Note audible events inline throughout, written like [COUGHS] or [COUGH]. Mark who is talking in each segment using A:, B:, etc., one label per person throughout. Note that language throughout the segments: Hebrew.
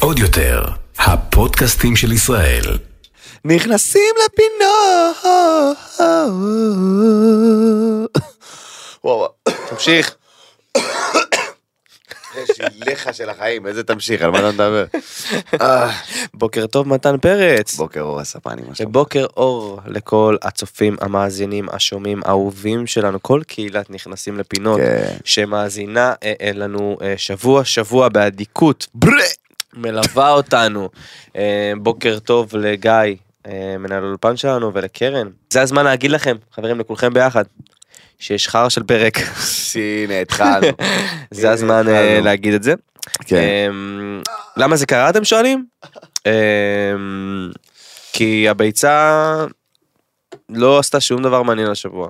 A: עוד יותר, הפודקאסטים של ישראל.
B: נכנסים לפינות. וואו,
C: תמשיך. יש לך של החיים, איזה תמשיך, על מה אתה מדבר? אה,
B: בוקר טוב מתן פרץ.
C: בוקר אור הספני, מה שלומך?
B: בוקר אור לכל הצופים, המאזינים, השומעים, האהובים שלנו, כל קהילת נכנסים לפינות,
C: כן.
B: שמאזינה אה, אה, לנו אה, שבוע שבוע באדיקות, ברה, מלווה אותנו. אה, בוקר טוב לגיא, אה, מנהל האולפן שלנו, ולקרן. זה הזמן להגיד לכם, חברים, לכולכם ביחד, שיש חרא של פרק. [LAUGHS]
C: הנה, התחלנו.
B: זה הזמן אה,
C: התחלנו.
B: להגיד את זה.
C: כן.
B: אמ, למה זה קרה אתם שואלים? אמ, כי הביצה לא עשתה שום דבר מעניין השבוע.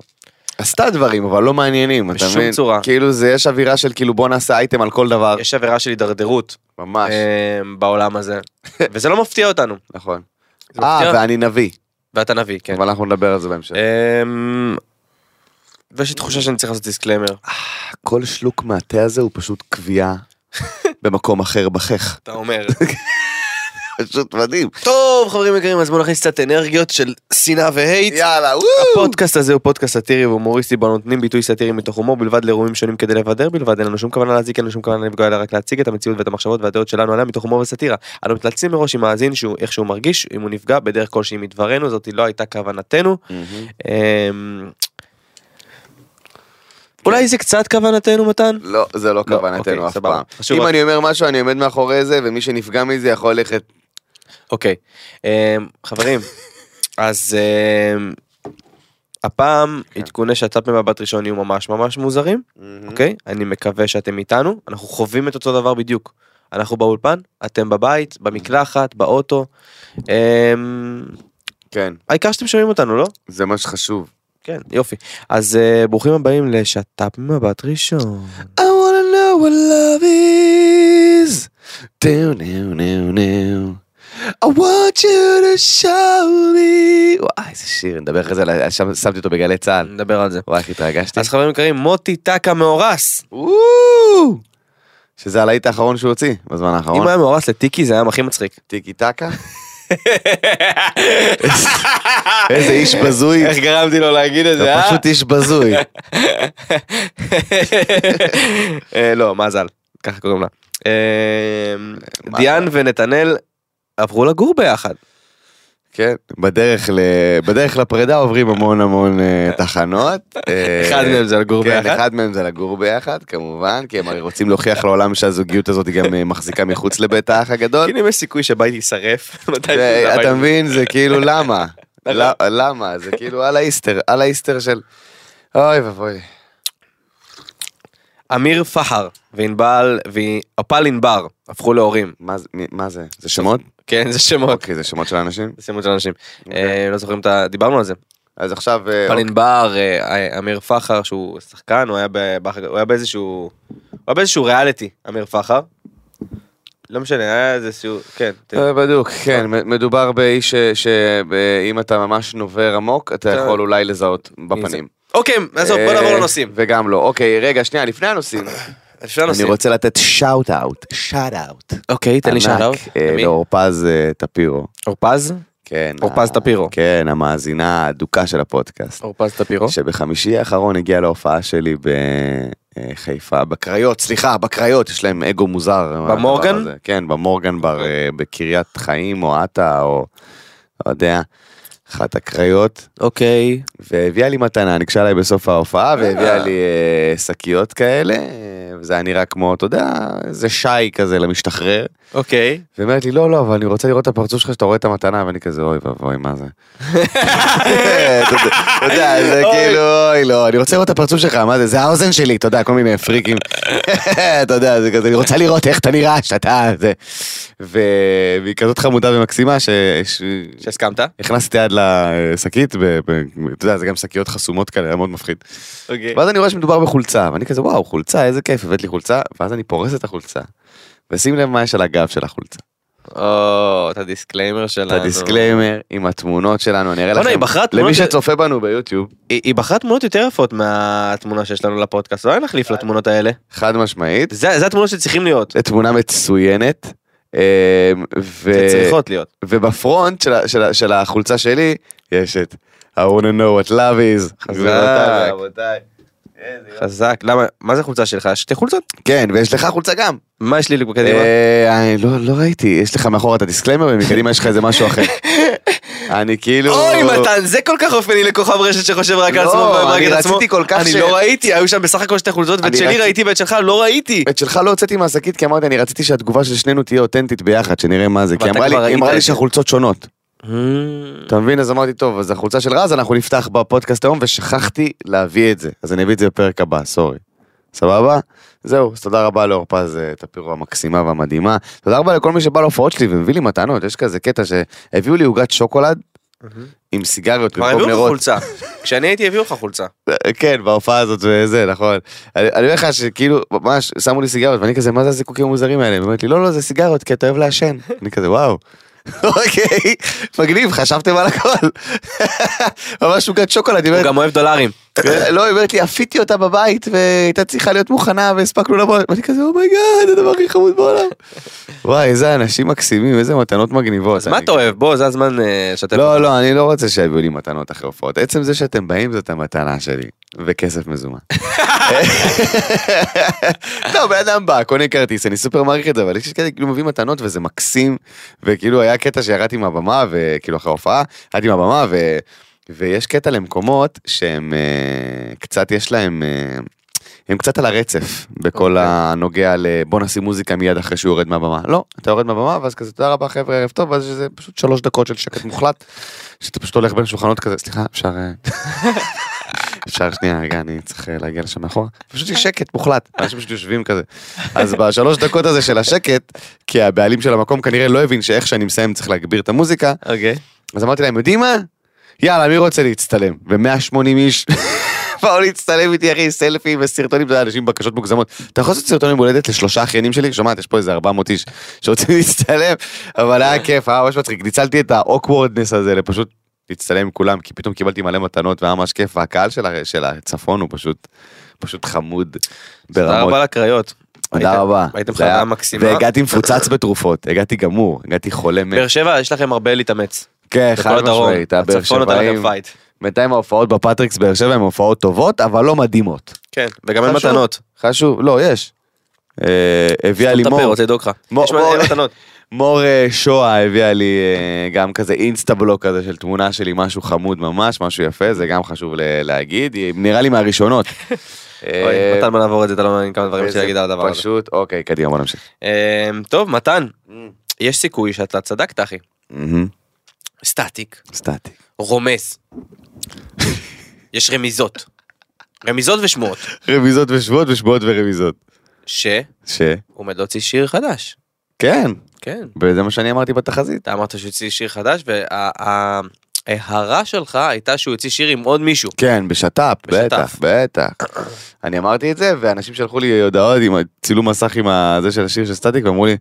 C: עשתה דברים, אבל לא מעניינים, אתה
B: בשום
C: מבין?
B: צורה.
C: כאילו, זה יש אווירה של כאילו בוא נעשה אייטם על כל דבר.
B: יש עבירה של הידרדרות
C: ממש,
B: אמ, בעולם [LAUGHS] הזה, וזה לא מפתיע אותנו.
C: נכון.
B: זה
C: אה,
B: מפתיע.
C: ואני נביא.
B: ואתה נביא, כן.
C: אבל אנחנו נדבר על זה בהמשך.
B: אמ, ויש לי תחושה שאני צריך לעשות דיסקליימר.
C: כל שלוק מהתה הזה הוא פשוט
B: [LAUGHS]
C: קביעה במקום אחר בחך. [LAUGHS]
B: אתה אומר.
C: פשוט מדהים.
B: טוב חברים יקרים אז בואו נכניס קצת אנרגיות של שנאה והייט.
C: יאללה, וואו.
B: הפודקאסט הזה הוא פודקאסט סאטירי והומוריסטי בו נותנים ביטוי סאטירי מתוך הומור בלבד לאירועים שונים כדי לבדר בלבד אין לנו שום כוונה להזיק אין לנו שום כוונה לפגוע אלא רק להציג את המציאות ואת המחשבות והדעות שלנו עליה מתוך הומור וסאטירה. אנו מתנצלים מראש עם מאזין שהוא איך שהוא מרגיש אם הוא נפגע בדרך כלשהי מדברנו זאת לא הייתה כוונתנו. אמ, אולי זה קצת כוונתנו מתן?
C: לא, זה לא
B: לא,
C: כוונתנו
B: אוקיי,
C: אף
B: סבבה.
C: פעם.
B: חשוב
C: אם
B: רק-
C: אני אומר משהו, אני עומד מאחורי זה, ומי שנפגע מזה יכול ללכת...
B: אוקיי. אמ, חברים אז אמ, הפעם עדכוני שת"פ ממבט ראשון יהיו ממש ממש מוזרים.
C: Mm-hmm.
B: אוקיי? אני מקווה שאתם איתנו, אנחנו חווים את אותו דבר בדיוק. אנחנו באולפן, אתם בבית,
C: Mm-hmm.
B: במקלחת, באוטו. אמ,
C: כן,
B: העיקר שאתם שומעים אותנו, לא?
C: זה מה שחשוב.
B: כן, יופי. אז אה, ברוכים הבאים לשת"פ ממבט ראשון.
C: I wanna know what love is. Do, do, do, do. I want you to show me. וואי, איזה שיר, נדבר אחרי זה, על ה- שם- שמתי אותו בגלי צה"ל.
B: נדבר על זה.
C: וואי, איך התרגשתי.
B: אז חברים יקרים, מוטי טקה מאורס.
C: וואו! שזה הלהיט האחרון שהוא הוציא בזמן
B: אם
C: האחרון.
B: הוא היה מאורס לטיקי זה היה הכי מצחיק.
C: טיקי
B: [LAUGHS]
C: טקה. איזה איש בזוי.
B: גרמתי לו להגיד את
C: אתה פשוט איש בזוי.
B: [LAUGHS] אה, לא, מזל, ככה קוראים לה. אה,
C: מזל.
B: דיאן ונתנאל עברו לגור ביחד.
C: כן. בדרך ל- בדרך לפרידה עוברים המון המון אה, תחנות. אה,
B: [LAUGHS] אחד מהם זה לגור
C: כן,
B: ביחד.
C: אחד מהם זה לגור ביחד, כמובן, כי הם הרי רוצים להוכיח לעולם שהזוגיות הזאת היא גם אה, מחזיקה מחוץ לבית האח הגדול.
B: כאילו אם יש סיכוי שהבית יישרף, [LAUGHS] מתי
C: ו-
B: שזה הבית.
C: אה. אתה מבין, זה כאילו למה?
B: לא נכון.
C: ל- למה? זה כאילו על האיסטר, על האיסטר של... אוי ואבוי.
B: אמיר פחר וענבל ואפל ענבר הפכו להורים.
C: מה זה- מי- מה זה? זה שמות?
B: כן, זה שמות.
C: אוקיי, זה אוקיי. שמות של אנשים?
B: זה שמות של אנשים. אה, לא זוכרים את ה... דיברנו על זה.
C: אז עכשיו... אה,
B: אפל ענבר, אה, אמיר פחר שהוא שחקן, הוא היה ב- באח- הוא היה באיזשהו... הוא היה באיזשהו ריאליטי, אמיר פחר. לא משנה, היה איזשהו... כן. ת-
C: אה, בדיוק, כן, מ- מדובר באיש שאם אתה ממש נובר עמוק, אתה
B: אתה-
C: יכול אולי לזהות בפנים.
B: אוקיי, עזוב, בוא
C: אה,
B: נעבור לנושאים.
C: וגם לא. אוקיי, רגע, שנייה, לפני הנושאים.
B: לפני
C: אני
B: [COUGHS] הנושאים.
C: רוצה לתת שאוט אאוט. שאט אאוט.
B: אוקיי, תן לי שאלות.
C: לאורפז אה, טפירו.
B: אורפז?
C: כן.
B: אורפז
C: ה-
B: טפירו.
C: כן, המאזינה האדוקה של הפודקאסט.
B: אורפז טפירו.
C: שבחמישי האחרון הגיעה להופעה שלי בחיפה, בקריות, סליחה, בקריות, יש להם אגו מוזר.
B: במורגן?
C: הדבר הזה. כן, במורגן בר, אה, בקריית חיים או עטה או לא יודע, אחת הקריות.
B: אוקיי.
C: והביאה לי מתנה, ניגשה אליי בסוף ההופעה והביאה לי אה, שקיות כאלה, אה, וזה היה נראה כמו, אתה יודע, איזה שי כזה למשתחרר.
B: אוקיי.
C: והיא אומרת לי, לא, לא, אבל אני רוצה לראות את הפרצוף שלך שאתה רואה את המתנה, ואני כזה, אוי ואבוי, מה זה? אתה יודע, אתה יודע, זה
B: אוי.
C: כאילו, אוי, לא, אני רוצה לראות את הפרצוף שלך, מה זה, זה האוזן שלי, אתה יודע, כל מיני פריקים. [LAUGHS] אתה יודע, זה כזה, אני רוצה לראות איך אתה נראה, שאתה, זה. ו- והיא כזאת חמודה ומקסימה, ש... ש-
B: שהסכמת?
C: הכנסתי יד לשקית, ב- ב- אתה יודע, זה גם שקיות חסומות כאלה, היה מאוד מפחיד.
B: אוקיי.
C: ואז אני רואה שמדובר בחולצה, ואני כזה, וואו, חולצה, איזה כיף, הבאת לי חולצה, ואז אני פורס את החולצה. ושים לב מה יש על הגב של החולצה.
B: או, את הדיסקליימר
C: את
B: שלנו.
C: הדיסקליימר עם התמונות שלנו, אני אראה
B: בוא'נה,
C: לכם.
B: היא בחרה תמונות
C: למי
B: של-
C: שצופה בנו ביוטיוב,
B: היא היא בחרה תמונות יותר יפות מהתמונה שיש לנו לפודקאסט, אולי נחליף
C: אה.
B: לתמונות האלה.
C: חד משמעית.
B: זה זה התמונות שצריכים להיות.
C: זו תמונה מצוינת. אמ, ו-
B: שצריכות להיות.
C: ובפרונט של ה- של ה- של החולצה שלי יש את I want to know what love is.
B: חזק.
C: רבותיי. איזה יופי.
B: חזק. למה? מה זה חולצה שלך? יש שתי חולצות?
C: כן, ויש לך חולצה גם.
B: מה יש לי בקדימה?
C: אה, אני לא, לא ראיתי, יש לך מאחורה את הדיסקליימר ומקדימה יש לך איזה משהו
B: [LAUGHS]
C: אחר. אני כאילו...
B: אוי מתן, זה כל כך אופייני לכוכב רשת שחושב רק על
C: לא,
B: עצמו ורק
C: אני
B: על עצמו.
C: רציתי כל כך
B: אני
C: ש-
B: לא ראיתי, היו שם בסך הכל שתי חולצות, ואת
C: אני
B: שלי
C: רציתי-
B: ראיתי ואת שלך לא ראיתי.
C: את שלך לא הוצאתי מהשקית כי אמרתי אני רציתי שהתגובה של שנינו תהיה אותנטית ביחד שנראה מה זה כי
B: ואתה
C: אמרה לי,
B: כבר
C: היא
B: ראית
C: אמרה לי
B: את זה.
C: שהחולצות שונות. אתה מבין אז אמרתי טוב אז החולצה של רז אנחנו נפתח בפודקאסט היום ושכחתי להביא את זה אז אני אביא את זה בפרק הבא סורי. סבבה? זהו אז תודה רבה לאור פז אה, טפירו המקסימה והמדהימה תודה רבה לכל מי שבא להופעות שלי ומביא לי מתנות יש כזה קטע שהביאו לי עוגת שוקולד עם סיגריות
B: כבר
C: במקום
B: הביאו לך
C: נרות.
B: חולצה. כשאני הייתי הביאו לך
C: [LAUGHS]
B: חולצה.
C: כן, בהופעה הזאת וזה, נכון. אני אני אומר לך שכאילו, ממש, שמו לי סיגריות, ואני כזה, מה זה הזיקוקים המוזרים האלה? היא אומרת לי, לא, לא, זה סיגריות, כי אתה אוהב לעשן. אני כזה, וואו. [LAUGHS] אוקיי, מגניב, חשבתם על הכל. [LAUGHS] ממש עוגת שוקולד, היא
B: הוא
C: אומרת,
B: גם אוהב דולרים.
C: לא, היא אומרת לי, עפיתי אותה בבית, והייתה צריכה להיות מוכנה, והספקנו לבוא. ואני כזה, אומייגאד, זה הדבר הכי חמוד בעולם. [LAUGHS] וואי, איזה אנשים מקסימים, איזה מתנות מגניבות.
B: אז מה
C: אני-
B: אתה אוהב? בוא, זה הזמן אה, לשתף.
C: לא, לא, אני לא רוצה שיביאו לי מתנות אחרי הופעות. עצם זה שאתם באים זאת המתנה שלי, וכסף מזומן. לא, בן אדם בא, קונה כרטיס, אני סופר מעריך את זה, אבל יש כאלה כאילו מביא מתנות וזה מקסים, וכאילו היה קטע שירדתי מהבמה, וכאילו אחרי ההופעה, ירדתי מהבמה, ו... ויש קטע למקומות שהם אה, קצת, יש להם... אה, הם קצת על הרצף בכל הנוגע ל בוא נשים מוזיקה מיד אחרי שהוא יורד מהבמה. לא, אתה יורד מהבמה ואז כזה תודה רבה חבר'ה ערב טוב ואז זה פשוט שלוש דקות של שקט מוחלט. שאתה פשוט הולך בין שולחנות כזה סליחה אפשר אה, אפשר שנייה רגע אני צריך אה, להגיע לשם מאחורה. פשוט יש שקט מוחלט אנשים פשוט יושבים כזה. אז בשלוש דקות הזה של השקט כי הבעלים של המקום כנראה לא הבין שאיך שאני מסיים צריך להגביר את המוזיקה
B: אוקיי.
C: אז אמרתי להם, יודעים מה? יאללה, מי רוצה להצטלם? ו-180 איש [LAUGHS] באו להצטלם איתי, אחי, סלפים וסרטונים, זה היה אנשים עם בקשות מוגזמות. אתה יכול לעשות סרטון יום הולדת לשלושה אחיינים שלי? שומעת, יש פה איזה 400 איש שרוצים [LAUGHS] להצטלם, אבל היה כיף, היה ממש מצחיק. ניצלתי את האוקוורדנס הזה לפשוט להצטלם עם כולם, כי פתאום קיבלתי מלא מתנות והיה ממש כיף, והקהל של הר- של הצפון הוא פשוט, פשוט חמוד
B: תודה
C: ברמות.
B: רבה לקריות.
C: תודה
B: הייתם-
C: רבה.
B: הייתם
C: זה היה-
B: חוויה מקסימה.
C: והגעתי מפוצץ בתרופות, הגעתי גמור, הגעתי חולה מת.
B: באר שבע, יש לכם הרבה להתאמץ.
C: כן, חד
B: בכל הדרום.
C: משמעית, הבאר
B: הצפון נותן לכם
C: שבעים.
B: פייט.
C: בינתיים ההופעות בפטריקס באר שבע הן הופעות טובות, אבל לא מדהימות.
B: כן, וגם אין
C: חשוב.
B: מתנות.
C: חשוב, לא, יש. אה, הביאה לי
B: תסתום את הפה,
C: מור,
B: רוצה לדאוג לך.
C: מור-
B: יש מלא
C: מור-
B: מתנות.
C: [LAUGHS] מור אה, שואה הביאה לי אה, גם כזה אינסטה בלוק כזה של תמונה שלי, משהו חמוד ממש, משהו יפה, זה גם חשוב ל- להגיד, היא נראה לי
B: [LAUGHS]
C: מהראשונות.
B: אוי,
C: אה,
B: מתן, בוא נעבור את זה, אתה לא מבין כמה דברים
C: וזה
B: שלי להגיד על הדבר הזה.
C: פשוט, Mm. אוקיי, קדימה, בוא נמשיך.
B: אמ, טוב, מתן, יש סיכוי שאתה צדקת, אחי.
C: מהמם,
B: סטטיק,
C: סטטי.
B: רומז. יש רמיזות. רמיזות ושמועות.
C: רוויזות ושבועות ושבועות ורוויזות.
B: שהוא
C: ש?
B: עומד להוציא שיר חדש.
C: כן,
B: כן.
C: וזה מה שאני אמרתי בתחזית.
B: אתה אמרת שהוא יוציא שיר חדש, וההערה שלך הייתה שהוא יוציא שיר עם עוד מישהו.
C: כן, בשת"פ, בטח,
B: בשת"פ.
C: בטח. אני אמרתי את זה, ואנשים שלחו לי הודעות עם צילום מסך עם ה- זה של השיר של סטטיק, ואמרו לי,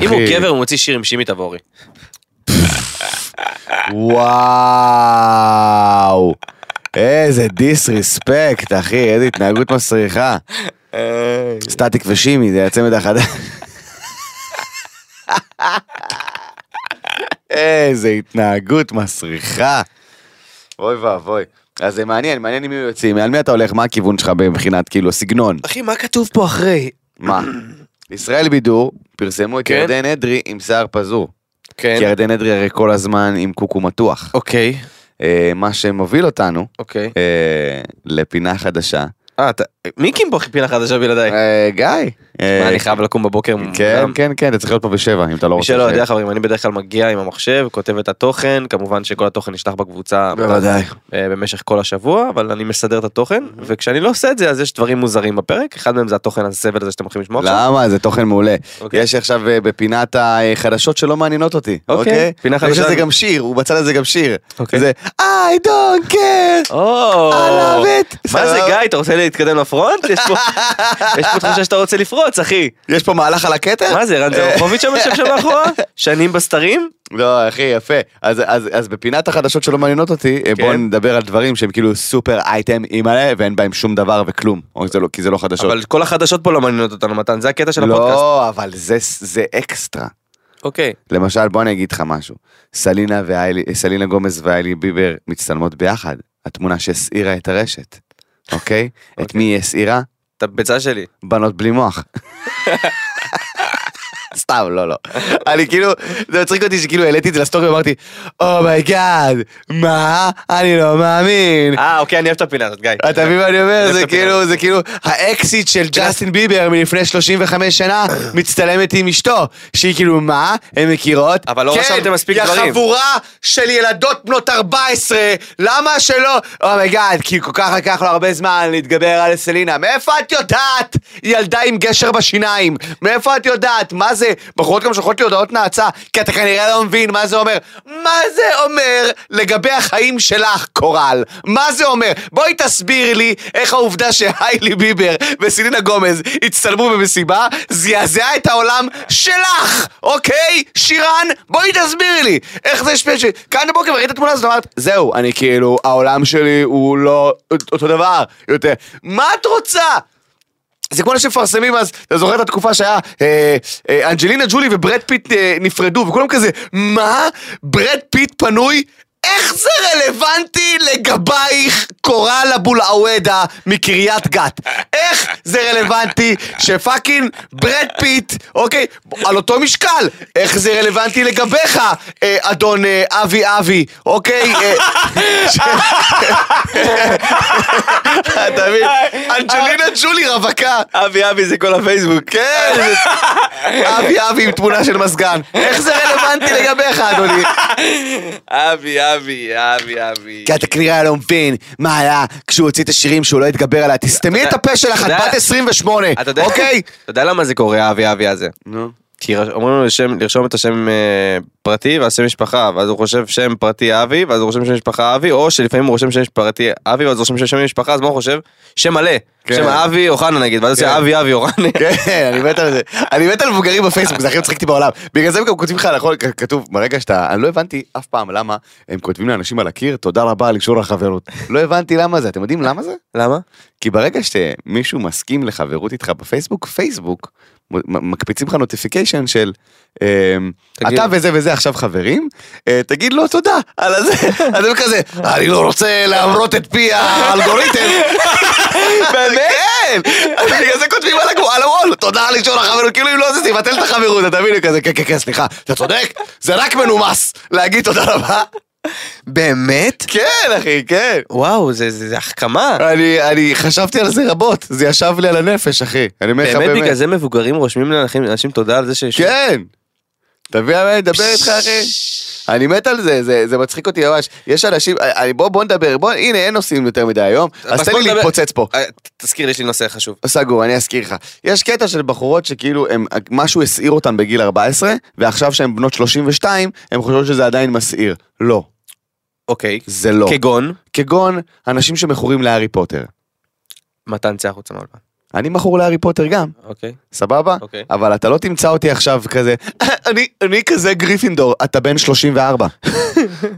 B: אם הוא
C: אחי,
B: גבר הוא מוציא שיר עם שימי תבורי.
C: וואו, איזה דיסרספקט, אחי, איזה התנהגות מסריחה. סטטיק ושימי, זה הצמד החדש. איזה התנהגות מסריחה. אוי ואבוי. אז זה מעניין, מעניין עם מי הוא יוצאים, על מי אתה הולך, מה הכיוון שלך מבחינת כאילו סגנון.
B: אחי, מה כתוב פה אחרי?
C: מה? ישראל בידור פרסמו את
B: כן.
C: ירדן אדרי עם שיער פזור.
B: כן.
C: כי ירדן אדרי הרי כל הזמן עם קוקו מתוח.
B: אוקיי,
C: אה, מה שמוביל אותנו
B: אוקיי.
C: אה, לפינה חדשה.
B: אה, אתה... מי הקים פה פינה חדשה בלעדיי?
C: אה, גיא.
B: מה,
C: אה,
B: אני חייב לקום בבוקר מוקדם?
C: כן, כן, כן, אתה צריך להיות פה בשבע, אם אתה לא
B: מי
C: רוצה.
B: שלא
C: ש-
B: יודע חברים, אני בדרך כלל מגיע עם המחשב, כותב את התוכן, כמובן שכל התוכן נשלח בקבוצה
C: בוודאי.
B: אה, במשך כל השבוע, אבל אני מסדר את התוכן, וכשאני לא עושה את זה אז יש דברים מוזרים בפרק, אחד מהם זה התוכן הסבל הזה שאתם הולכים לשמוע עכשיו.
C: למה? זה תוכן מעולה.
B: אוקיי.
C: יש עכשיו אה, בפינת החדשות שלא מעניינות אותי.
B: אוקיי,
C: אוקיי?
B: פינה
C: יש
B: חדשה.
C: לזה גם שיר, הוא בצד הזה גם שיר.
B: אוקיי.
C: זה I don't care.
B: או,
C: I love it.
B: מה זה
C: אה, סבבה. [LAUGHS]
B: גיא, אתה רוצה להתקדם לפרונט? יש פה- יש פה תחושה שאתה רוצה לפרוש בחוץ, אחי.
C: יש פה מהלך על הכתר?
B: מה זה, רן זרחוביץ' שם יושב שם מאחורה? שנים בסתרים?
C: לא, אחי, יפה. אז, אז, אז בפינת החדשות שלא מעניינות אותי, כן. בואו נדבר על דברים שהם כאילו סופר אייטם אימא'לה, ואין בהם שום דבר וכלום. או זה לא, כי זה לא חדשות.
B: אבל כל החדשות פה לא מעניינות אותנו, מתן, זה הקטע של הפודקאסט.
C: לא, אבל זה, זה אקסטרה.
B: אוקיי.
C: למשל, בוא אני אגיד לך משהו. סלינה, ואיילי, סלינה גומז ואיילי ביבר מצטלמות ביחד. התמונה שהסעירה את הרשת, אוקיי? את מי היא הסעירה?
B: את הביצה שלי.
C: בנות בלי מוח. סתם, לא, לא. אני כאילו, זה מצחיק אותי שכאילו העליתי את זה לסטורי ואמרתי, אומייגאד, מה? אני לא מאמין.
B: אה, אוקיי, אני אוהב את הפינה הזאת, גיא.
C: אתה מבין מה אני אומר?
B: איזה
C: זה
B: פינה?
C: כאילו, זה כאילו, האקסיט של ג'סטין ביבר מלפני 35
B: [COUGHS]
C: שנה מצטלמת עם אשתו, שהיא כאילו, מה? הן מכירות? כן,
B: אבל לא רשמתם מספיק
C: היא
B: דברים."
C: חבורה של ילדות בנות 14, למה שלא? אומייגאד, כי כל כך לקח לו הרבה זמן להתגבר על סלינה. מאיפה את יודעת? היא ילדה עם גשר בשיניים. מאיפה את יודעת? מה זה? בחורות גם שולחות לי הודעות נאצה, כי אתה כנראה לא מבין מה זה אומר. מה זה אומר לגבי החיים שלך, קורל? מה זה אומר? בואי תסביר לי איך העובדה שהיילי ביבר וסלינה גומז הצטלמו במסיבה זעזעה את העולם שלך, אוקיי? שירן, בואי תסבירי לי. איך זה השפיע ש... כאן בבוקר ראית את התמונה הזאת ואמרת, זהו, אני כאילו, העולם שלי הוא לא אותו דבר יותר. מה את רוצה? זה כמו אלה שמפרסמים אז, אתה זוכר את התקופה שהיה אה, אה, אנג'לינה ג'ולי וברד פיט אה, נפרדו, וכולם כזה, מה? ברד פיט פנוי? איך זה רלוונטי לגבייך קורל אבו לעוודה מקריית גת? איך זה רלוונטי שפאקינג ברד פיט, אוקיי, על אותו משקל, איך זה רלוונטי לגביך, אה, אדון אה, אבי אבי, אוקיי? אה, [LAUGHS] ש- אתה מבין? אנג'לינה ג'ולי רווקה.
B: אבי אבי זה כל הפייסבוק.
C: כן, [LAUGHS] אבי אבי עם תמונה של מזגן. איך זה רלוונטי לגביך, אדוני?
B: אבי אבי אבי אבי.
C: כי אתה כנראה לא מבין מה היה כשהוא הוציא את השירים שהוא לא התגבר עליה. תסתמי את הפה שלך, את
B: אתה יודע-
C: בת 28,
B: אתה יודע-
C: אוקיי?
B: אתה יודע למה זה קורה, אבי אבי הזה? כי רש- אומרים לו לשם- לרשום את השם אה, פרטי ואז שם משפחה, ואז הוא חושב שם פרטי אבי, ואז הוא רושם שם משפחה אבי, או שלפעמים הוא רושם שם פרטי אבי, ואז הוא רושם שם משפחה, אז מה הוא חושב? שם מלא.
C: כן.
B: שם אבי אוחנה נגיד, ואז הוא
C: כן.
B: עושה אבי אבי אוחנה.
C: כן, אני מת על זה. אני מת על מבוגרים בפייסבוק, זה הכי מצחיק אותי בעולם. בגלל זה הם גם כותבים לך על הכל, כ- כתוב, ברגע שאתה, אני לא הבנתי אף פעם למה הם כותבים לאנשים על הקיר, תודה רבה על אישור החברות. לא הבנתי למה זה, אתם יודעים למה זה?
B: למה?
C: כי ברגע שמישהו מסכים לחברות איתך בפייסבוק, פייסבוק מ- מקפיצים לך נוטיפיקיישן של אמ,
B: תגיד.
C: אתה וזה וזה עכשיו חברים, אה, תגיד לו תודה על הזה, [LAUGHS] אז הם כזה, אני לא רוצה להמרות את פי
B: [LAUGHS]
C: האלגוריתם. באמת? [LAUGHS] כן, אז בגלל זה כותבים על הגו- על הוול, תודה על לשאול החברות, כאילו אם לא זה תבטל את החברות, אתה מבין, כזה, כן כן כן, סליחה, אתה צודק, זה רק מנומס להגיד תודה רבה.
B: באמת?
C: כן אחי, כן.
B: וואו, זה- זה זה החכמה.
C: אני, אני חשבתי על זה רבות, זה ישב לי על הנפש, אחי. אני אומר לך
B: באמת
C: באמת.
B: בגלל זה מבוגרים רושמים לאנשים לאנשים תודה על זה שיש...
C: כן. תביא עליי, נדבר איתך, אחי. אני מת על זה, זה, זה מצחיק אותי ממש. יש אנשים, אני, בוא, בוא נדבר, בוא, הנה, אין נושאים יותר מדי היום, אז
B: אז
C: תן
B: בוא
C: לי
B: נדבר-
C: להתפוצץ פה.
B: אה, ת- תזכיר לי, יש לי נושא חשוב.
C: סגור, אני אזכיר לך. יש קטע של בחורות שכאילו, הם, משהו הסעיר אותן בגיל 14, ועכשיו שהן בנות 32, הן חושבות שזה עדיין מסעיר. לא,
B: אוקיי.
C: זה לא.
B: כגון?
C: כגון אנשים שמכורים להארי פוטר.
B: מתן צא החוצה מהאולפן.
C: אני מכור להארי פוטר גם.
B: אוקיי.
C: סבבה?
B: אוקיי.
C: אבל אתה לא תמצא אותי עכשיו כזה, [COUGHS] אני, אני כזה גריפינדור, אתה בן
B: [LAUGHS]
C: 34.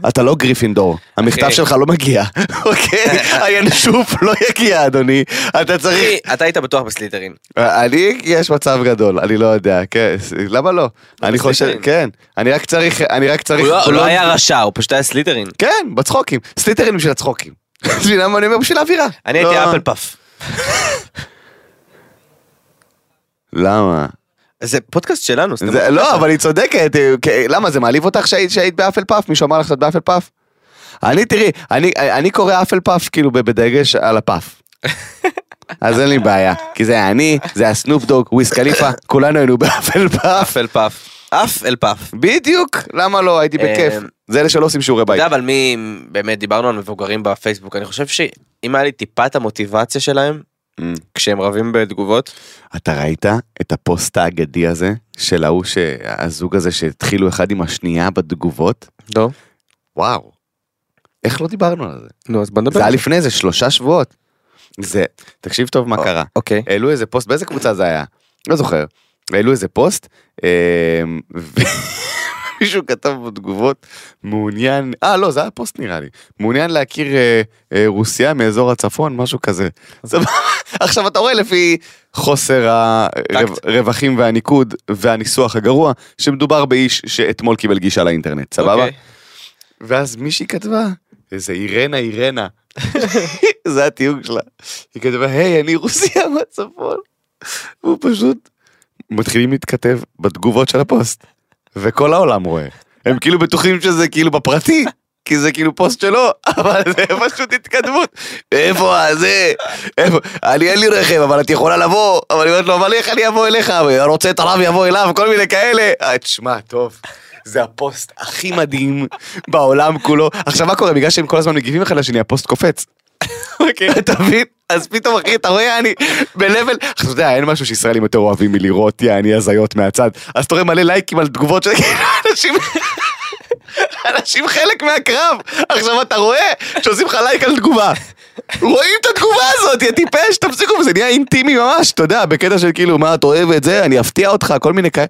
C: אתה לא גריפינדור, המכתב
B: אחי.
C: שלך לא מגיע, [LAUGHS]
B: [LAUGHS]
C: אוקיי? הינשוף לא יגיע, אדוני. אתה צריך...
B: אחי, אתה היית בטוח בסליטרין.
C: אני, יש מצב גדול, אני לא יודע, כן, ס- למה לא? אני חושב,
B: בסדר.
C: כן, אני רק צריך, אני רק צריך...
B: הוא לא- הוא לא
C: בלונד-
B: היה רשע, הוא פשוט היה סליטרין.
C: כן, בצחוקים, סליטרים בשביל הצחוקים. [LAUGHS] בשביל למה אני אומר? בשביל האווירה.
B: אני
C: לא-
B: הייתי אפל פאף.
C: למה?
B: זה פודקאסט שלנו. סתם.
C: זה, לא, אבל היא צודקת, אה, כי- למה זה מעליב אותך שהיית, שהיית באפל פאף? מישהו אמר לך שאת באפל פאף? אני, תראי, אני, אני קורא אפל פאף כאילו ב- בדגש על הפאף. אז אין לי בעיה, כי זה היה אני, זה היה סנופ דוג, וויס קליפה, כולנו היינו באפל פאף.
B: אף אל פאף. אף אל פאף.
C: בדיוק, למה לא, הייתי בכיף.
B: אה,
C: זה אלה שלא עושים שיעורי
B: אתה
C: בית.
B: יודע אבל מי, באמת דיברנו על מבוגרים בפייסבוק, אני חושב שאם היה לי טיפת המוטיבציה שלהם,
C: אמ.
B: כשהם רבים בתגובות,
C: אתה ראית את הפוסט האגדי הזה, של ההוא, ש- הזוג הזה שהתחילו אחד עם השנייה בתגובות?
B: לא.
C: וואו. איך לא דיברנו על זה?
B: נו, אז בוא נדבר.
C: זה היה לפני איזה שלושה שבועות. זה, תקשיב טוב מה קרה.
B: אוקיי.
C: העלו איזה פוסט, באיזה קבוצה זה היה? לא זוכר, העלו איזה פוסט, אמ, [LAUGHS] ומישהו כתב בתגובות, מעוניין, אה לא זה היה פוסט נראה לי, מעוניין להכיר אה, אה, רוסיה מאזור הצפון, משהו כזה. סבבה. [LAUGHS] עכשיו אתה רואה לפי חוסר הרווחים והניקוד והניסוח הגרוע, שמדובר באיש שאתמול קיבל גישה לאינטרנט, סבבה?
B: אוקיי.
C: ואז מישהי כתבה, איזה אירנה אירנה. [LAUGHS] זה התיוג שלה. היא כתבה, היי, אני רוסיה מהצפון. והוא פשוט, מתחילים להתכתב בתגובות של הפוסט. וכל העולם רואה. הם כאילו בטוחים שזה כאילו בפרטי. כי זה כאילו פוסט שלו, [LAUGHS] אבל זה פשוט התקדמות. איפה זה? איפה? אני אין לי רכב, אבל את יכולה לבוא. אבל היא אומרת לו, אבל איך אני אבוא אליך? רוצה את הרב יבוא אליו, כל מיני כאלה. אה, תשמע, טוב. זה הפוסט הכי מדהים בעולם כולו. עכשיו מה קורה? בגלל שהם כל הזמן מגיבים אחד לשני, הפוסט קופץ.
B: אוקיי.
C: אתה מבין? אז פתאום אחי, אתה רואה, אני ב-level, עכשיו אתה יודע, אין משהו שישראלים יותר אוהבים מלראות, יעני הזיות מהצד. אז אתה רואה מלא לייקים על תגובות של כאילו אנשים... אנשים חלק מהקרב, עכשיו אתה רואה שעושים לך לייק על תגובה. רואים את התגובה הזאת, יא טיפש, תפסיקו, זה נהיה אינטימי ממש, אתה יודע, בקטע של כאילו, מה, אתה אוהב את זה, אני אפתיע אותך, כל מיני כאלה.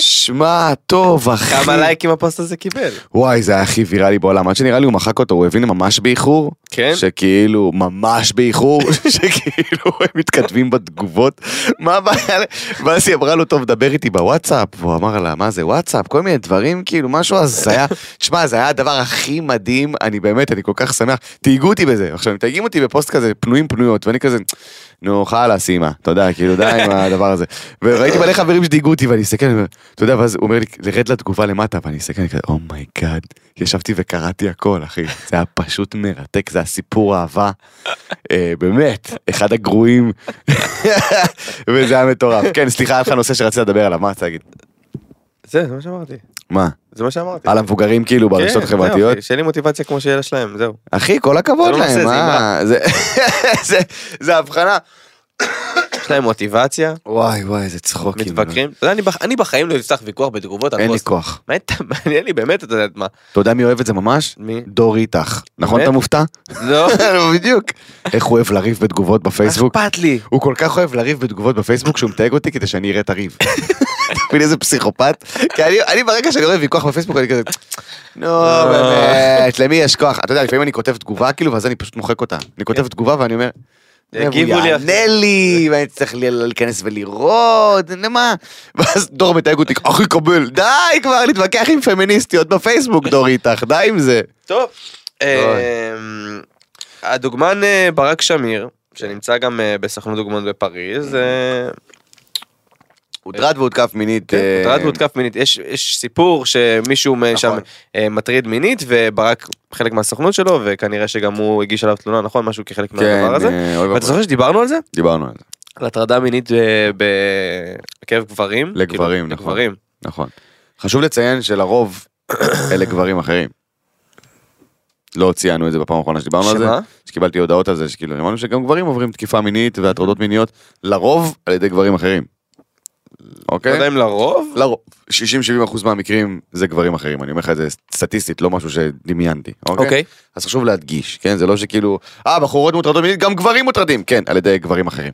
C: שמע, טוב, אחי.
B: כמה לייקים הפוסט הזה קיבל?
C: וואי, זה היה הכי ויראלי בעולם. עד שנראה לי הוא מחק אותו, הוא הבין ממש באיחור.
B: כן?
C: שכאילו, ממש באיחור, שכאילו הם מתכתבים בתגובות. מה הבעיה? ואז היא אמרה לו, טוב, דבר איתי בוואטסאפ. והוא אמר לה, מה זה וואטסאפ? כל מיני דברים, כאילו, משהו הזיה. שמע, זה היה הדבר הכי מדהים, אני באמת, אני כל כך שמח. תהיגו אותי בזה. עכשיו, הם מתייגים אותי בפוסט כזה, פנויים פנויות, ואני כזה, נו, חלאס, אימא. אתה יודע, כאילו, די עם הדבר הזה. וראיתי מלא חברים שדייגו אותי, ואני מסתכל, אני אומר, אתה יודע, ואז הוא אומר לי, לרד לתגובה למטה, ואני מסתכל, אני כזה, אומייגאד. ישבתי וקראתי הכל, אחי. זה היה פשוט מרתק, זה הסיפור אהבה. אה, באמת, אחד הגרועים. וזה היה מטורף. כן, סליחה, היה לך נושא שרצית לדבר עליו, מה רצית להגיד?
B: זה, זה מה שאמרתי.
C: מה?
B: זה מה שאמרתי.
C: על המבוגרים כאילו
B: כן,
C: ברשתות
B: זהו,
C: החברתיות?
B: אחי, שיהיה לי מוטיבציה כמו שיש שלהם, זהו.
C: אחי, כל הכבוד
B: זה לא נושא,
C: להם,
B: זה
C: מה? זה- זה- זה הבחנה.
B: יש להם מוטיבציה,
C: וואי וואי, איזה צחוקים.
B: מתווכחים. אתה יודע, אני בח- אני בחיים לא אפתח ויכוח בתגובות על
C: אין לי
B: פוסט.
C: כוח.
B: מה אתה- מעניין לי באמת, אתה יודעת מה.
C: אתה יודע מי אוהב את זה ממש?
B: מי?
C: דור איתך. נכון
B: באמת?
C: אתה
B: [LAUGHS]
C: מופתע? [LAUGHS]
B: לא.
C: בדיוק. איך הוא אוהב לריב בתגובות בפייסבוק?
B: אכפת לי.
C: הוא כל כך אוהב לריב בתגובות בפייסבוק שהוא מתייג אותי כדי שאני אראה את
B: [LAUGHS]
C: הריב. אתה מבין איזה פסיכופת? כי אני, אני ברגע שאני רואה ויכוח בפייסבוק אני כזה, נו
B: אה.
C: באמת, למי יש כוח? אתה יודע, לפעמים אני כותב תגובה כאילו, ואז אני פשוט מוחק אותה. אני כותב תגובה ואני אומר,
B: כן. יגיבו לי
C: הוא
B: אחרי."
C: יענה לי, ואני צריך ל- להיכנס ולראות, למה? ואז דור מתייג אותי, אחי קבל, די כבר להתווכח עם פמיניסטיות בפייסבוק, דור איתך, די עם זה.
B: טוב. אמ, הדוגמן אה, ברק שמיר, שנמצא גם אה, בסוכנות דוגמנות בפריז, אה,
C: הוטרד והותקף מינית.
B: כן,
C: אה,
B: הוטרד והותקף מינית. יש יש סיפור שמישהו מ- שם
C: נכון.
B: אה, מטריד מינית, וברק חלק מהסוכנות שלו, וכנראה שגם הוא הגיש עליו תלונה, נכון? משהו כחלק מהדבר הזה.
C: אה, אוי
B: ואתה
C: ואבוי.
B: זוכר שדיברנו על זה?
C: דיברנו על זה,
B: על הטרדה מינית אה, ב- בקרב גברים.
C: לגברים,
B: כאילו,
C: נכון.
B: לגברים.
C: נכון. חשוב לציין
B: [COUGHS]
C: שלרוב אלה גברים אחרים. לא ציינו את זה בפעם האחרונה שדיברנו על זה,
B: שמה?
C: שקיבלתי הודעות על זה, שכאילו אמרנו שגם גברים עוברים תקיפה מינית והטרדות מיניות, לרוב על ידי גברים אחרים.
B: לא יודע
C: אוקיי?
B: אם לרוב,
C: לרוב, 60-70% מהמקרים זה גברים אחרים, אני אומר לך את זה סטטיסטית, לא משהו שדמיינתי, אוקיי?
B: אוקיי.
C: אז חשוב להדגיש, כן? זה לא שכאילו, אה, בחורות מוטרדות מינית, גם גברים מוטרדים, כן, על ידי גברים אחרים.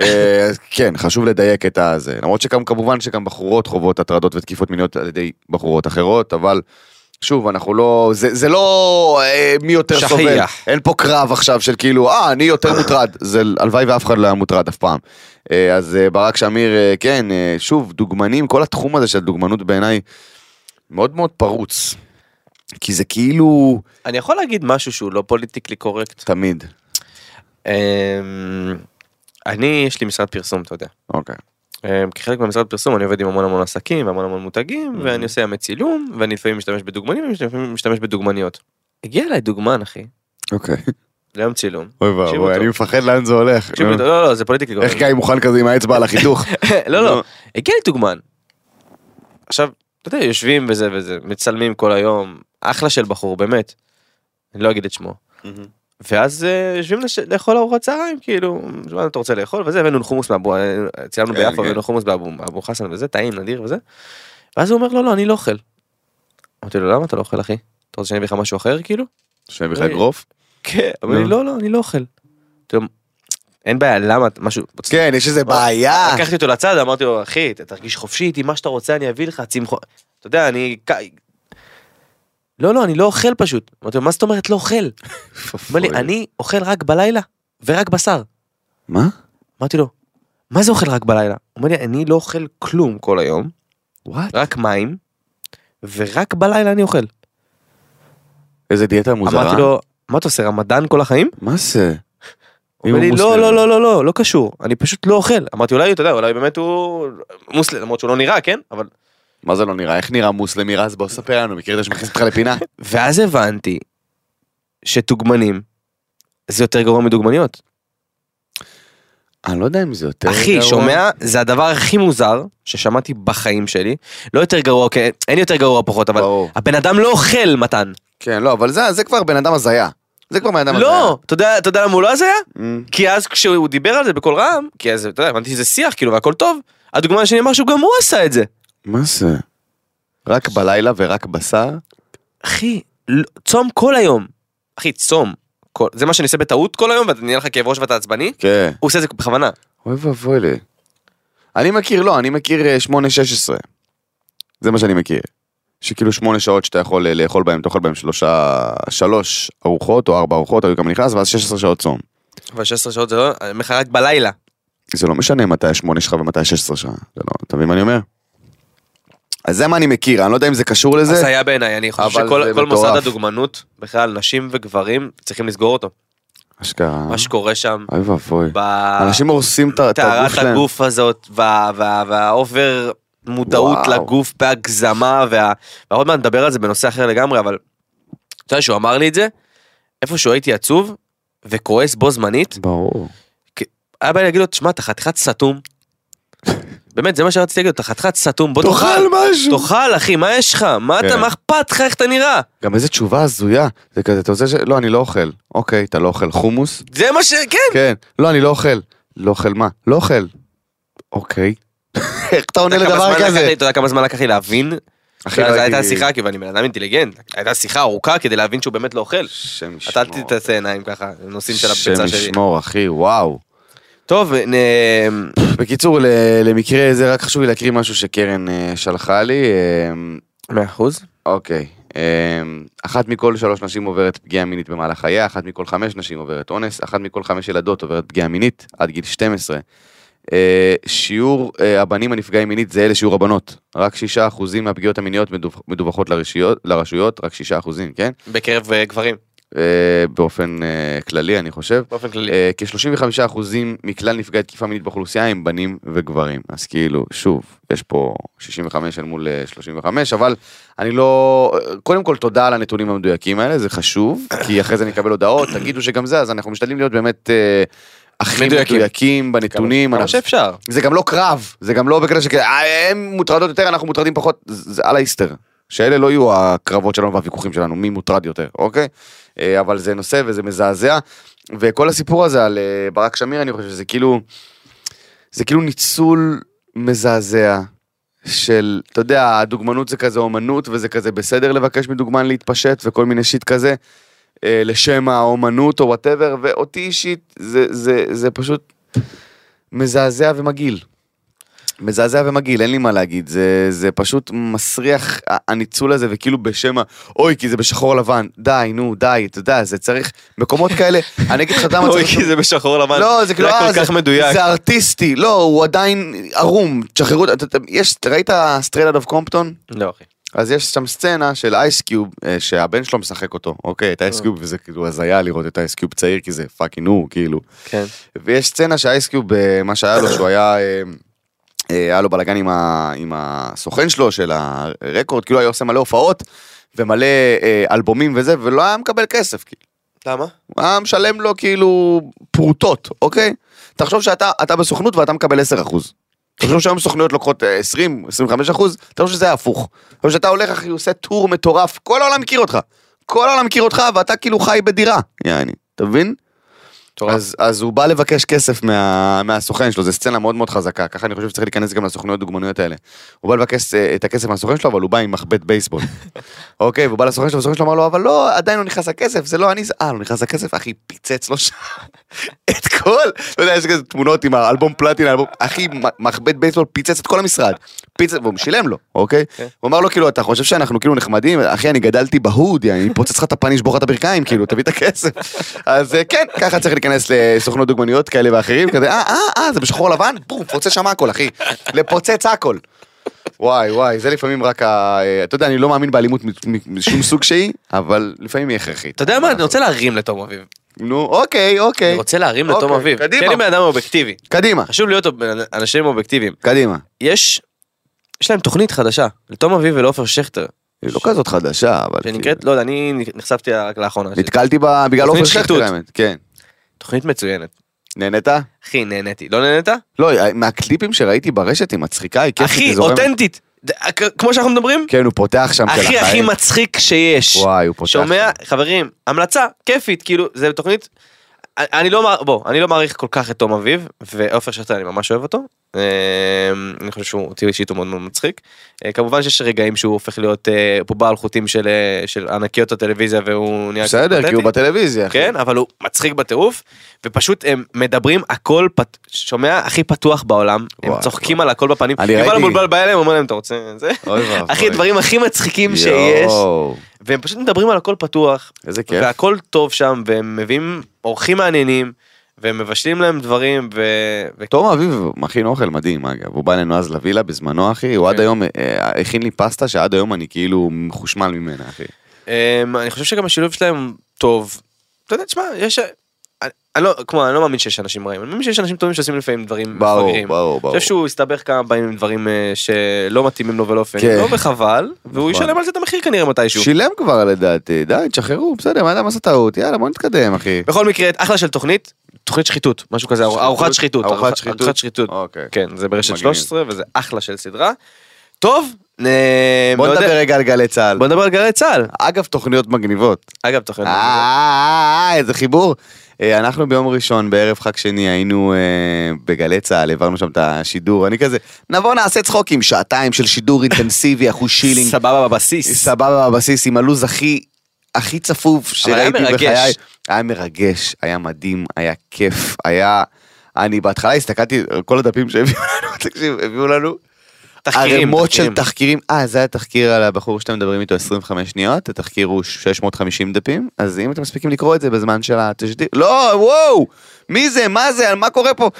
C: אה, אז כן, חשוב לדייק את הזה. למרות שגם, כמובן שגם בחורות חוות הטרדות ותקיפות מיניות על ידי בחורות אחרות, אבל שוב, אנחנו לא, זה, זה לא אה, מי יותר
B: שכיח.
C: סובל. אין פה קרב עכשיו של כאילו, אה, אני יותר מוטרד. זה, הלוואי ואף אחד לא היה מוטרד אף פעם. אה, אז אה, ברק שמיר, אה, כן, אה, שוב, דוגמנים, כל התחום הזה של דוגמנות בעיניי מאוד מאוד פרוץ. כי זה כאילו
B: אני יכול להגיד משהו שהוא לא פוליטיקלי קורקט.
C: תמיד.
B: אמ, אני, יש לי משרד פרסום, אתה יודע.
C: אוקיי.
B: אמ, כחלק מהמשרד פרסום אני עובד עם המון המון עסקים והמון המון
C: Mm-hmm.
B: מותגים ואני עושה ימי צילום ואני לפעמים משתמש בדוגמנים ולפעמים משתמש בדוגמניות. הגיע אליי דוגמן אחי,
C: אוקיי.
B: ליום צילום.
C: אוי
B: תקשיבו
C: ואבוי,
B: טוב.
C: אני מפחד לאן זה הולך.
B: תקשיב,
C: נו.
B: לא לא זה פוליטיקלי
C: איך
B: קורקט.
C: גיא מוכן כזה עם האצבע על החיתוך?
B: לא
C: נו.
B: לא, הגיע לי דוגמן. עכשיו, אתה יודע, יושבים וזה וזה, מצלמים כל היום, אחלה של בחור באמת. אני לא אגיד את שמו. ואז אה, יושבים לש- לאכול ארוחת צהריים כאילו מה אתה רוצה לאכול וזה הבאנו חומוס מאבו צילמנו
C: כן,
B: ביפו
C: כן.
B: הבאנו חומוס באבו אבו חסן וזה טעים נדיר וזה. ואז הוא אומר לו לא אני לא אוכל. אמרתי לו למה אתה לא אוכל אחי אתה רוצה שאני אביא לך משהו אחר כאילו?
C: שווה בכלל אגרוף?
B: כן. אמר לי
C: נו.
B: לא לא אני לא אוכל. אמרתי לו, אין בעיה, למה, אתה- משהו...
C: כן, יש איזה בעיה.
B: לקחתי אותו לצד, אמרתי לו, אחי, אתה תרגיש חופשי איתי, מה שאתה רוצה, אני אביא לך, צמחון. אתה יודע, אני... כ- לא, לא, אני לא אוכל פשוט. אמרתי לו, מה זאת אומרת לא אוכל? הוא אומר לי, אני אוכל רק בלילה ורק בשר.
D: מה?
B: אמרתי לו, מה זה אוכל רק בלילה? הוא אומר לי, אני לא אוכל כלום כל היום,
D: וואט?
B: רק מים, ורק בלילה אני אוכל.
D: איזה דיאטה מוזרה.
B: אמרתי לו, מה אתה עושה, רמדאן כל החיים?
D: מה זה?
B: הוא אומר לי, לא, לא, לא, לא, לא, לא קשור, אני פשוט לא אוכל. אמרתי, אולי, אתה יודע, אולי באמת הוא מוסלם, למרות שהוא לא נראה, כן? אבל
D: מה זה לא נראה? איך נראה מוסלמי רז? בוא ספר לנו, מכיר את זה שמכניס אותך לפינה?
B: ואז הבנתי שדוגמנים זה יותר גרוע מדוגמניות.
D: אני לא יודע אם זה יותר
B: אחי,
D: גרוע.
B: שומע? זה הדבר הכי מוזר ששמעתי בחיים שלי. לא יותר גרוע, כן, אין יותר גרוע פחות, אבל
D: ברור.
B: הבן אדם לא אוכל, מתן.
C: כן, לא, אבל זה זה כבר בן אדם הזיה. זה כבר בן אדם הזיה.
B: לא, אתה יודע אתה יודע למה הוא לא הזיה?
C: Mm.
B: כי אז כשהוא דיבר על זה בקול רם, כי אז, אתה יודע, הבנתי שזה שיח, כאילו, והכל טוב, הדוגמן השני אמר שהוא גם הוא עשה את זה.
D: מה זה?
C: רק בלילה ורק בשר?
B: אחי, לא- צום כל היום. אחי, צום. כל- זה מה שאני עושה בטעות כל היום, ואתה נהיה לך כאב ראש ואתה עצבני?
C: כן.
B: הוא עושה את זה בכוונה.
C: אוי ואבוי לי. אני מכיר, לא, אני מכיר אה, 8-16. זה מה שאני מכיר. שכאילו שמונה שעות שאתה יכול אה, לאכול בהם, אתה אוכל בהם שלושה, שלוש ארוחות או ארבע ארוחות, היו כמה נכנס, ואז 16 שעות צום.
B: אבל 16 שעות זה לא, אני אומר לך רק בלילה.
C: זה לא משנה מתי השמונה שלך ומתי ה-16 שלך, זה לא, אתה מבין מה אני אומר? אז זה מה אני מכיר, אני לא יודע אם זה קשור לזה.
B: הזיה בעיניי, אני חושב
C: אבל
B: שכל
C: זה
B: כל מוסד
C: מטורף.
B: הדוגמנות, בכלל נשים וגברים, צריכים לסגור אותו.
C: אשכרה.
B: מה שקורה שם,
C: אוי ואבוי.
B: בטהרת
C: אנשים הורסים אה, את ה- את הגוף שלהם.
B: הגוף הזאת, וה- וה- והאובר מודעות
C: וואו.
B: לגוף בהגזמה, וה- ועוד מעט נדבר על זה בנושא אחר לגמרי, אבל אתה יודע שהוא אמר לי את זה, איפשהו הייתי עצוב וכועס בו זמנית,
C: ברור.
B: היה בא לי להגיד לו, תשמע, אתה חתיכת סתום. [LAUGHS] באמת, זה מה שרציתי להגיד לו, אתה חתיכת סתום, בוא
C: תאכל
B: תאכל.
C: משהו.
B: תאכל, אחי, מה יש לך? מה אתה,
C: כן.
B: מה אכפת לך, איך אתה נראה?
C: גם איזה תשובה הזויה. זה כזה, אתה רוצה ש... לא, אני לא אוכל. אוקיי, אתה לא אוכל חומוס?
B: זה מה ש... כן.
C: כן. לא, אני לא אוכל. לא אוכל מה? לא אוכל. אוקיי. [LAUGHS] איך אתה עונה
B: אתה יודע כמה
C: לדבר
B: זמן לקח
C: כזה?
B: לי- אתה יודע כמה זמן לקח לי להבין?
C: אחי,
B: אחי,
C: לא
B: זו
C: הייתי-
B: הייתה שיחה, כי אני בן אדם אינטליגנט, הייתה שיחה ארוכה כדי להבין שהוא באמת לא אוכל.
C: שם
B: אתה
C: ישמור.
B: אל תתעשה עיניים ככה, נושאים של
C: שם
B: הפצע שלי.
C: ישמור, אחי, וואו.
B: טוב, אה, נ-
C: בקיצור, ל- למקרה זה רק חשוב לי להקריא משהו שקרן אה, שלחה לי. אה,
B: מאה אחוז.
C: אוקיי. אמ, אחת מכל שלוש נשים עוברת פגיעה מינית במהלך חייה, אחת מכל חמש נשים עוברת אונס, אחת מכל חמש ילדות עוברת פגיעה מינית עד גיל 12. אה, שיעור אה, הבנים הנפגעים מינית זהה לשיעור הבנות. רק שישה אחוזים מהפגיעות המיניות מדווח- מדווחות לרשויות, לרשויות רק שישה אחוזים, כן?
B: בקרב אה, גברים,
C: אה, באופן אה, כללי, אני חושב.
B: באופן כללי.
C: אה, כ-35% מכלל נפגעי תקיפה מינית באוכלוסייה הם בנים וגברים. אז כאילו, שוב, יש פה 65 אל מול אה, 35, אבל אני לא... קודם כל, תודה על הנתונים המדויקים האלה, זה חשוב,
B: [COUGHS]
C: כי אחרי זה נקבל הודעות, תגידו שגם זה, אז אנחנו משתדלים להיות באמת אה, הכי
B: מדויקים.
C: מדויקים בנתונים.
B: כמה
C: אנחנו-
B: שאפשר.
C: זה גם לא קרב, זה גם לא בקטע שכאילו, "אה, הם מוטרדות יותר, אנחנו מוטרדים פחות, זה זה על ההיסטר. שאלה לא יהיו הקרבות שלנו והוויכוחים שלנו, מי מוטרד יותר, אוקיי? אה, אבל זה נושא וזה מזעזע, וכל הסיפור הזה על אה, ברק שמיר, אני חושב שזה כאילו, זה כאילו ניצול מזעזע של, אתה יודע, הדוגמנות זה כזה אומנות, וזה כזה בסדר לבקש מדוגמן להתפשט וכל מיני שיט כזה, אה, לשם האומנות או וואטאבר, ואותי אישית, זה, זה, זה פשוט מזעזע ומגעיל. מזעזע ומגעיל, אין לי מה להגיד, זה, זה פשוט מסריח ה- הניצול הזה, וכאילו בשם ה... אוי, כי זה בשחור לבן, די, נו, די, אתה יודע, זה צריך מקומות
B: [LAUGHS]
C: כאלה, אני אגיד לך למה
B: אוי,
C: צריך...
B: כי זה בשחור לבן.
C: לא, זה כאילו,
B: היה
C: אה,
B: כל כך מדויק.
C: זה ארטיסטי, לא, הוא עדיין ערום, תשחררו, את- את- יש, ראית סטרייט אוף קומפטון?
B: לא, אחי.
C: אז יש שם סצנה של אייסקיוב שהבן שלו משחק אותו, אוקיי, את אייסקיוב, וזה כאילו הזיה לראות את אייסקיוב צעיר, כי זה פאקינג הוא, כאילו.
B: כן.
C: ויש סצנה שאייסקיוב, אה, מה שהיה לו, שהוא היה, אה, אה, היה לו בלאגן עם, ה- עם הסוכן שלו, של הרקורד, כאילו היה עושה מלא הופעות, ומלא אה, אלבומים וזה, ולא היה מקבל כסף, כאילו.
B: למה?
C: הוא היה משלם לו כאילו פרוטות, אוקיי? תחשוב שאתה אתה בסוכנות ואתה מקבל 10 אחוז. תחשוב שהיום סוכנויות לוקחות אה, 20, 25 אחוז, תחשוב שזה היה הפוך. תחשוב שאתה הולך אחי, עושה טור מטורף, כל העולם מכיר אותך. כל העולם מכיר אותך ואתה כאילו חי בדירה, יעני, אתה מבין?
B: מטורף.
C: אז, אז הוא בא לבקש כסף מה, מהסוכן שלו, זו סצנה מאוד מאוד חזקה, ככה אני חושב שצריך להיכנס גם לסוכנויות דוגמנויות האלה. הוא בא לבקש אה, את הכסף מהסוכן שלו, אבל הוא בא עם מחבט בייסבול. אוקיי, והוא בא לסוכן שלו, והסוכן שלו אמר לו, אבל לא, עדיין לא נכנס הכסף, זה לא אני, זה... אה, לא נכנס הכסף, אחי, פיצץ לו שם את כל, לא יודע, יש כזה תמונות עם האלבום פלטינה, אלבום, אחי, מ- מחבט בייסבול פיצץ את כל המשרד. פיצץ, והוא שילם לו, אוקיי?
B: כן.
C: הוא אמר לו, כאילו, אתה חושב שאנחנו כאילו נחמדים? אחי, אני גדלתי בהוד, יא, אני פוצץ לך את הפנים, אשבור לך את הברכיים, כאילו, תביא את הכסף. אז אה, כן, ככה צריך להיכנס לסוכנות דוגמניות כאלה ואחרים, כזה, אה, אה, אה, זה בשחור לבן? בום, פוצץ שם הכל, אחי. לפוצץ הכל. וואי, וואי, זה לפעמים רק ה... אה, אתה יודע, אני לא מאמין באלימות מ- מ- משום סוג שהיא, אבל לפעמים היא הכרחית.
B: אתה יודע מה, אני רוצה להרים לתום אביב.
C: נו, אוקיי, אוקיי.
B: אני רוצה להרים לתום
C: אוקיי,
B: אביב.
C: קדימה.
B: כי אני בן אדם אובייקטיבי.
C: קדימה,
B: חשוב להיות אוב- אנשים אובייקטיביים.
C: קדימה.
B: יש, יש להם תוכנית חדשה, לתום אביב ולעופר שכטר,
C: היא לא כזאת חדשה, אבל...
B: שנקראת, לא יודע, אני נחשפתי לה רק לאחרונה.
C: כאילו, נתקלתי בה בגלל
B: תוכנית
C: עופר שכטר,
B: שחיתות.
C: האמת. כן.
B: תוכנית מצוינת.
C: נהנית?
B: אחי, נהניתי. לא נהנית?
C: לא, מהקליפים שראיתי ברשת היא מצחיקה, היא כיפית, היא
B: אחי,
C: זורמת.
B: אותנטית. ד- כ- כמו שאנחנו מדברים,
C: כן, הוא פותח שם של
B: הכי הכי
C: החיים.
B: מצחיק שיש.
C: וואי, הוא פותח.
B: שומע, חברים, המלצה, כיפית, כאילו, זה תוכנית... אני לא, מע- בוא, אני לא מעריך כל כך את תום אביב, ועופר שכטר, אני ממש אוהב אותו. אמ, אני חושב שהוא, אותי אישית הוא מאוד מאוד מצחיק. אה, כמובן שיש רגעים שהוא הופך להיות אה, בובה על חוטים של, אה, של ענקיות הטלוויזיה והוא נהיה... קצת
C: בסדר, כי הוא
B: פתטי.
C: בטלוויזיה. אחי.
B: כן, אבל הוא מצחיק בטירוף, ופשוט הם מדברים הכל, פת... שומע, הכי פתוח בעולם, הם
C: וואי,
B: צוחקים על הכל בפנים.
C: אני
B: יובל
C: ראיתי-
B: המבולבל בא אליהם, אומר להם, אתה רוצה... זה?
C: אוי ואבוי.
B: אחי, הדברים הכי מצחיקים שיש.
C: יואו,
B: והם פשוט מדברים על הכל פתוח,
C: איזה כיף.
B: והכל טוב שם, והם מביאים אורחים מעניינים, והם מבשלים להם דברים, ו... ו...
C: תום אביב מכין אוכל מדהים אגב, הוא בא אלינו אז לווילה בזמנו אחי, הוא
B: כן.
C: עד היום אה, הכין לי פסטה שעד היום אני כאילו מחושמל ממנה אחי.
B: אמ, אני חושב שגם השילוב שלהם טוב. אתה יודע, תשמע, יש... אה, אני, אני לא, כמו, אני לא מאמין שיש אנשים רעים, אני מאמין שיש אנשים טובים שעושים לפעמים דברים
C: ברור,
B: מפגרים.
C: ברור, ברור.
B: אני חושב שהוא הסתבך כמה פעמים עם דברים אה, שלא מתאימים לו ולאופן,
C: כן.
B: לא וחבל, והוא
C: נכון.
B: ישלם על זה את המחיר כנראה מתישהו.
C: שילם כבר לדעתי, די, תשחררו, בסדר, מה אדם עשה טעות, יאללה בוא נתקדם אחי.
B: בכל מקרה, אחלה של תוכנית, תוכנית שחיתות, משהו כזה,
C: שחיתות,
B: ארוחת שחיתות.
C: ארוחת
B: ארוחה-
C: שחיתות.
B: ארוחת שחיתות.
C: אוקיי.
B: כן, זה ברשת
C: מגניב.
B: 13 וזה אחלה של סדרה. טוב, אה,
C: בוא
B: לא יודע-
C: נדבר רגע על גלי צה"ל.
B: בוא נדבר על גלי צה"ל.
C: אגב תוכניות מגניבות.
B: אגב, תוכנית.
C: אה, אה, אה, איזה חיבור. אה, אנחנו ביום ראשון בערב חג שני היינו אה, בגלי צהל, העברנו שם את השידור, אני כזה, נבוא נעשה צחוקים, שעתיים של שידור אינטנסיבי, [LAUGHS] אחוז שילינג,
B: סבבה בבסיס.
C: סבבה בבסיס, עם הלו"ז הכי, הכי צפוף
B: היה
C: שראיתי
B: מרגש.
C: בחיי. היה מרגש, היה מדהים, היה כיף, היה... אני בהתחלה הסתכלתי, על כל הדפים שהביאו לנו, [LAUGHS] תקשיב, הביאו לנו
B: תחקירים.
C: ערימות של
B: תחקירים.
C: תחקירים, אה זה היה תחקיר על הבחור שאתם מדברים איתו 25 שניות, התחקיר הוא 650 דפים, אז אם אתם מספיקים לקרוא את זה בזמן של התשדיר, לא וואו, מי זה, מה זה, על מה קורה פה,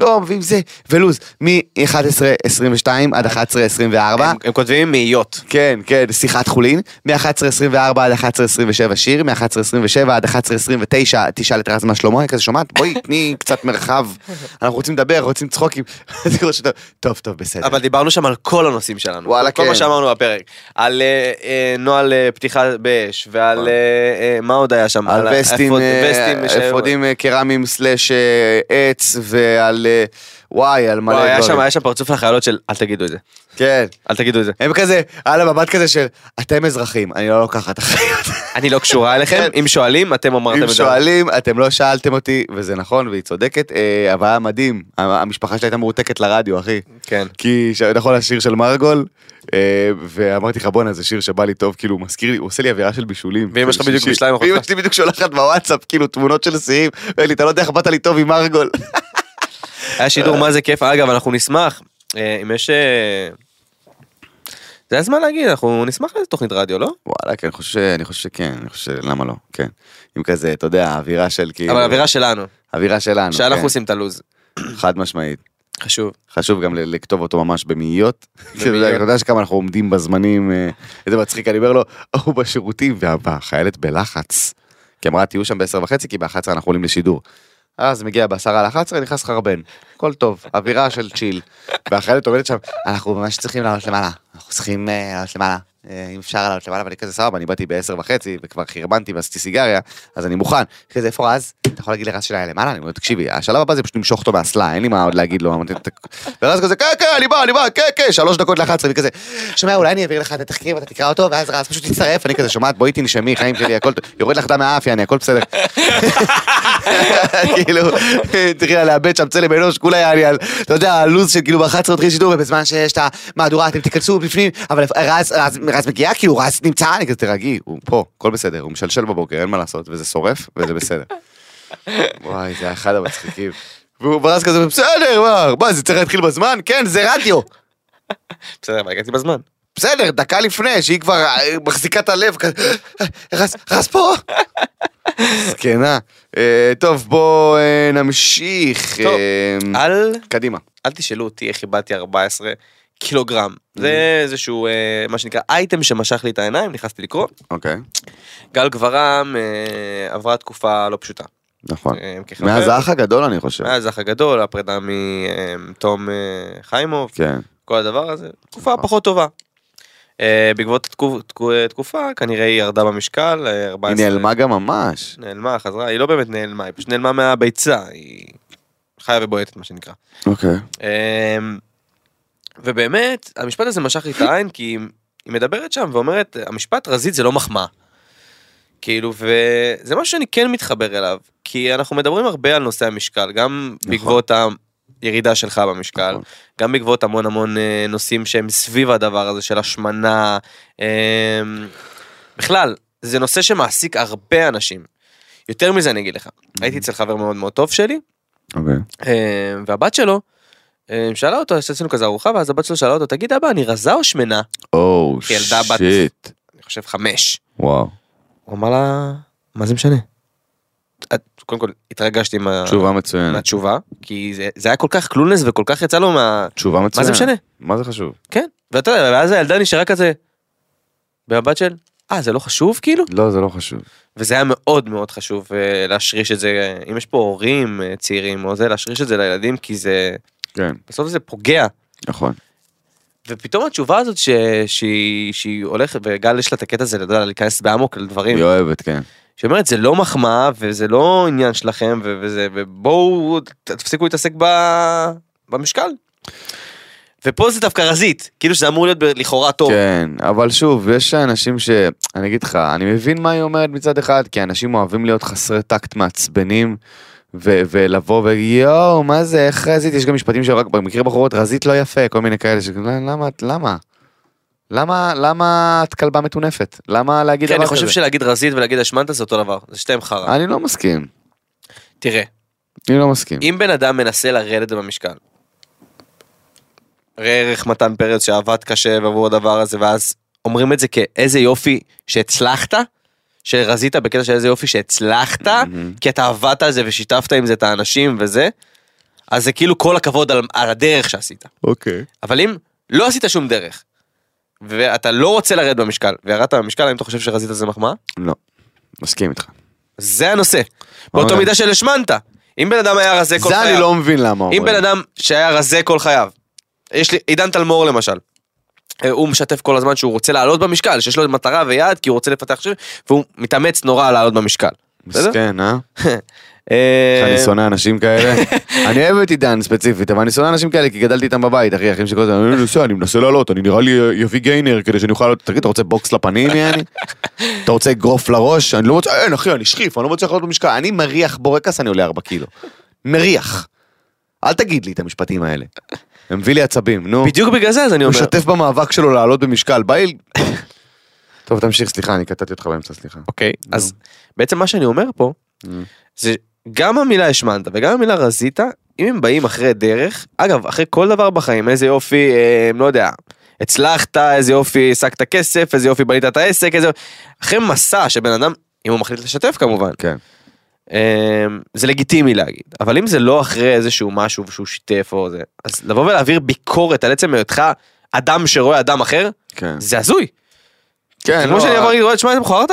C: לא, ואם זה, ולוז, מ-11.22 עד 11.24,
B: הם- הם כותבים מאיות.
C: כן, כן, שיחת חולין, מ-11.24 עד 11.27 שיר, מ-11.27 עד 11.29 תשאל את רז מה שלמה, אני כזה שומעת, בואי תני קצת מרחב, אנחנו רוצים לדבר, רוצים צחוקים, [LAUGHS] אז היא אומרת, טוב, טוב, בסדר.
B: אבל דיברנו שם על כל הנושאים שלנו.
C: וואלה,
B: כל
C: כן.
B: מה שאמרנו בפרק. על אה, אה, נוהל אה, פתיחה באש, ועל
C: וואלה.
B: אה, אה, מה עוד היה שם?
C: נכון. על וסטים,
B: האפוד-
C: אה,
B: וסטים ש-
C: אפודים אה, קרמיים סלאש אה, עץ ועל אה, וואי על מלא
B: וואי, היה שם
C: דברים.
B: היה שם פרצוף לחיילות של אל תגידו את זה.
C: כן.
B: אל תגידו את זה.
C: הם כזה על המבט כזה של אתם אזרחים אני לא לוקחת אחריות.
B: אני לא
C: [LAUGHS]
B: קשורה אליכם, אם שואלים אתם אמרתם
C: כן.
B: את
C: אם
B: זה.
C: שואלים אתם לא שאלתם אותי וזה נכון והיא צודקת אה, אבל היה מדהים ה- המשפחה שלי הייתה מרותקת לרדיו אחי.
B: כן.
C: כי ש- נכון השיר של מרגול אה, ואמרתי לך בואנה זה שיר שבא לי טוב כאילו הוא מזכיר לי הוא עושה לי אווירה של בישולים.
B: ואמא שלך
C: של
B: בדיוק
C: שיר.
B: בישלה עם אחותך.
C: ואמא שלי בדיוק שולחת בוואטסאפ כאילו תמונות של שיאים. ואומרת לי, אתה לא יודע איך באת לי טוב עם מרגול. [LAUGHS]
B: היה שידור מה זה כיף, אגב אנחנו נשמח, אה, אם יש... אה, זה הזמן להגיד, אנחנו נשמח לאיזה תוכנית רדיו, לא?
C: וואלה, כן, אני חושב, ש- אני חושב שכן, אני חושב שלמה לא, כן. עם כזה, אתה יודע, האווירה של כאילו...
B: אבל אווירה שלנו,
C: אווירה שלנו,
B: שאנחנו
C: כן.
B: עושים את הלוז,
C: חד משמעית.
B: חשוב.
C: חשוב גם ל- לכתוב אותו ממש במאיות. אתה
B: במאיות.
C: יודע- אתה יודע שכמה אנחנו עומדים בזמנים, אה, איזה מצחיק, אני אומר לו, הוא בשירותים, וה- והחיילת בלחץ. כי אמרה, תהיו שם בעשר וחצי, כי באחת עשרה אנחנו עולים לשידור. אז מגיע בעשרה על 11, נכנס חרבן. הכל טוב, אווירה של צ'יל. והחיילת עומדת שם, אנחנו ממש צריכים לעלות למעלה. אנחנו צריכים אה, לעלות למעלה. אה, אם אפשר לעלות למעלה, ואני כזה סבבה, אני באתי בעשר וחצי, וכבר חרבנתי ועשיתי סיגריה, אז אני מוכן. כזה, איפה רז? אתה יכול להגיד לרז שלה למעלה? אני אומר, תקשיבי, השלב הבא זה פשוט למשוך אותו מהאסלה, אין לי מה עוד להגיד לו. אמרתי, "ת- ורז כזה, כן, כן, אני בא, אני בא, כן, כן, שלוש דקות לאחת עשרה, וכזה, שומע, אולי אני אעביר לך את התחקיר ואתה תקרא אותו, ואז רז פשוט יצטרף, אני כזה, שומעת, בואי תנשמי, חיים שלי, הכל, טוב." יורד לך דם מהאף, יעני, הכל בסדר. [LAUGHS] כאילו, התחילה לאבד שם צלם אנוש, כולה היה לי על, אתה יודע, הלו"ז של כאילו ב-11 התחיל שידור, ובזמן שיש את המהדורה אתם תיכנסו בפנים, אבל רז- רז רז מגיע, כאילו רז נמצא, אני כזה, תרגי, הוא פה, הכל בסדר, הוא משלשל בבוקר, אין מה לעשות, וזה שורף, וזה בסדר. וואי, זה היה אחד המצחיקים. והוא ברז כזה, בסדר, מה, מה, זה צריך להתחיל בזמן? כן, זה רדיו.
B: בסדר, אבל הגעתי בזמן.
C: בסדר, דקה לפני, שהיא כבר אה, מחזיקה את הלב, כזה, רס, רס פה. זקנה. אה, טוב, בואו נמשיך.
B: טוב,
C: אה,
B: אל,
C: קדימה.
B: אל תשאלו אותי איך איבדתי 14 קילוגרם.
C: Mm-hmm.
B: זה איזשהו, אה, מה שנקרא, אייטם שמשך לי את העיניים, נכנסתי לקרוא.
C: אוקיי,
B: גל גברם אה, עברה תקופה לא פשוטה.
C: נכון.
B: אה, כחבר. אה,
C: מאז האח הגדול, אני חושב.
B: מאז האח הגדול, הפרידה מתום אה, חיימוב,
C: כן.
B: כל הדבר הזה, תקופה פחות טובה. אה, בעקבות התקו- תקו- תקופה כנראה היא ירדה במשקל, אה,
C: היא
B: 14
C: נעלמה גם ממש.
B: נעלמה, חזרה, היא לא באמת נעלמה, היא פשוט נעלמה מהביצה, היא חיה ובועטת מה שנקרא.
C: אוקיי.
B: אמ, ובאמת, המשפט הזה משך לי את העין, כי היא- היא מדברת שם ואומרת, המשפט רזית זה לא מחמאה. כאילו, וזה משהו שאני כן מתחבר אליו, כי אנחנו מדברים הרבה על נושא המשקל, גם
C: נכון.
B: בעקבות הירידה שלך במשקל,
C: נכון.
B: גם בעקבות המון המון אה, נושאים שהם סביב הדבר הזה של השמנה. אמ, בכלל, זה נושא שמעסיק הרבה אנשים. יותר מזה אני אגיד לך,
C: Mm-hmm.
B: הייתי אצל חבר מאוד מאוד טוב שלי,
C: אוקיי.
B: אה, והבת שלו אה, שאלה אותו, עשינו כזה ארוחה, ואז הבת שלו שאלה אותו, תגיד אבא, אני רזה או שמנה?
C: או,
B: ילדה בת-
C: שיט.
B: אני חושב חמש.
C: וואו.
B: הוא אמר לה, מה זה משנה? את- קודם כל, התרגשתי אה, מה-
C: תשובה כן. מצוינת.
B: מהתשובה, כי זה- זה היה כל כך קלונס וכל כך יצא לו מה...
C: תשובה מצוינת.
B: מה זה משנה?
C: מה זה חשוב?
B: כן. ואתה יודע, ואז הילדה נשארה כזה, במבט של, אה, זה לא חשוב כאילו?
C: לא, זה לא חשוב.
B: וזה היה מאוד מאוד חשוב אה, להשריש את זה, אה, אם יש פה הורים אה, צעירים או זה, להשריש את זה לילדים, כי זה,
C: כן,
B: בסוף זה פוגע.
C: נכון.
B: ופתאום התשובה הזאת ש... שהיא... שהיא הולכת, וגל יש לה את הקטע הזה, אתה יודע, להיכנס באמוק לדברים,
C: היא אוהבת, כן.
B: שהיא אומרת זה לא מחמאה וזה לא עניין שלכם ו... וזה... ובואו ת- תפסיקו להתעסק ב... במשקל. ופה זה דווקא רזית, כאילו שזה אמור להיות ב... לכאורה טוב.
C: כן, אבל שוב, יש אנשים ש... אני אגיד לך, אני מבין מה היא אומרת מצד אחד, כי אנשים אוהבים להיות חסרי טקט מעצבנים, ו- ולבוא ויואו, מה זה, איך רזית? יש גם משפטים שרק במקרה בחורות, רזית לא יפה, כל מיני כאלה, ש... "לא, למה, את- למה? למה, למה את כלבה מטונפת? למה להגיד
B: כן,
C: דבר
B: אני חושב
C: כזה?
B: שלהגיד רזית ולהגיד השמנת זה אותו דבר, זה שתיהם חרא.
C: אני לא מסכים,
B: תראה,
C: אני לא מסכים.
B: אם בן אדם מנסה לרדת במשקל, ראה ערך מתן פרץ שעבד קשה ועבור הדבר הזה, ואז אומרים את זה כאיזה יופי שהצלחת, שרזית בקטע של איזה יופי שהצלחת,
C: מהמם.
B: כי אתה עבדת על זה ושיתפת עם זה את האנשים וזה, אז זה כאילו כל הכבוד על, על הדרך שעשית.
C: אוקיי.
B: אבל אם לא עשית שום דרך, ואתה לא רוצה לרדת במשקל, וירדת במשקל, האם אתה חושב שרזית זה מחמאה?
C: לא, מסכים איתך.
B: זה הנושא. באותה
C: אוקיי.
B: מידה של השמנת. אם בן אדם היה רזה כל
C: זה
B: חייו...
C: אני לא מבין למה
B: אם
C: אומרים.
B: בן אדם שהיה רזה כל חייו, יש לי עידן תלמור למשל, אה, הוא משתף כל הזמן שהוא רוצה לעלות במשקל, שיש לו מטרה ויעד כי הוא רוצה לפתח שיר, והוא מתאמץ נורא לעלות במשקל. בסדר?
C: מסכן, אה?
B: אה,
C: אני שונא אנשים כאלה.
B: [LAUGHS]
C: אני אוהב את עידן ספציפית, אבל אני שונא אנשים כאלה כי גדלתי איתם בבית, אחי, אחים שכל הזמן, אני נוסע, אני מנסה לעלות, אני נראה לי אה, אביא גיינר כדי שאני אוכל לעלות, תגיד, אתה רוצה בוקס לפנים, יעני? אתה רוצה אגרוף לראש? אני לא מצליח, אין, אחי, אני שכיף, אני לא מצליח לעלות במשקל, אני מריח בורקס, אני עולה 4 קילו. מריח. אל תגיד לי את המשפטים האלה. זה מביא לי עצבים, נו.
B: בדיוק בגלל זה אז אני
C: הוא
B: אומר.
C: משתף במאבק שלו לעלות במשקל, בא לי... [COUGHS] טוב, תמשיך, סליחה, אני קטעתי אותך באמצע, סליחה.
B: אוקיי, אז בעצם מה שאני אומר פה, זה גם המילה השמנת וגם המילה רזית, אם הם באים אחרי דרך, אגב, אחרי כל דבר בחיים, איזה יופי, אה, לא יודע, הצלחת, איזה יופי השגת כסף, איזה יופי בנית את העסק, איזה... אחרי מסע שבן אדם, אם הוא מחליט לשתף כמובן,
C: כן.
B: אמ, זה לגיטימי להגיד, אבל אם זה לא אחרי איזשהו משהו שהוא שיתף או זה, אז לבוא ולהעביר ביקורת על עצם היותך אדם שרואה אדם אחר,
C: כן.
B: זה הזוי.
C: כן,
B: זה כמו
C: לא,
B: שאני אבוא להגיד, שמע, אתה מכוערת?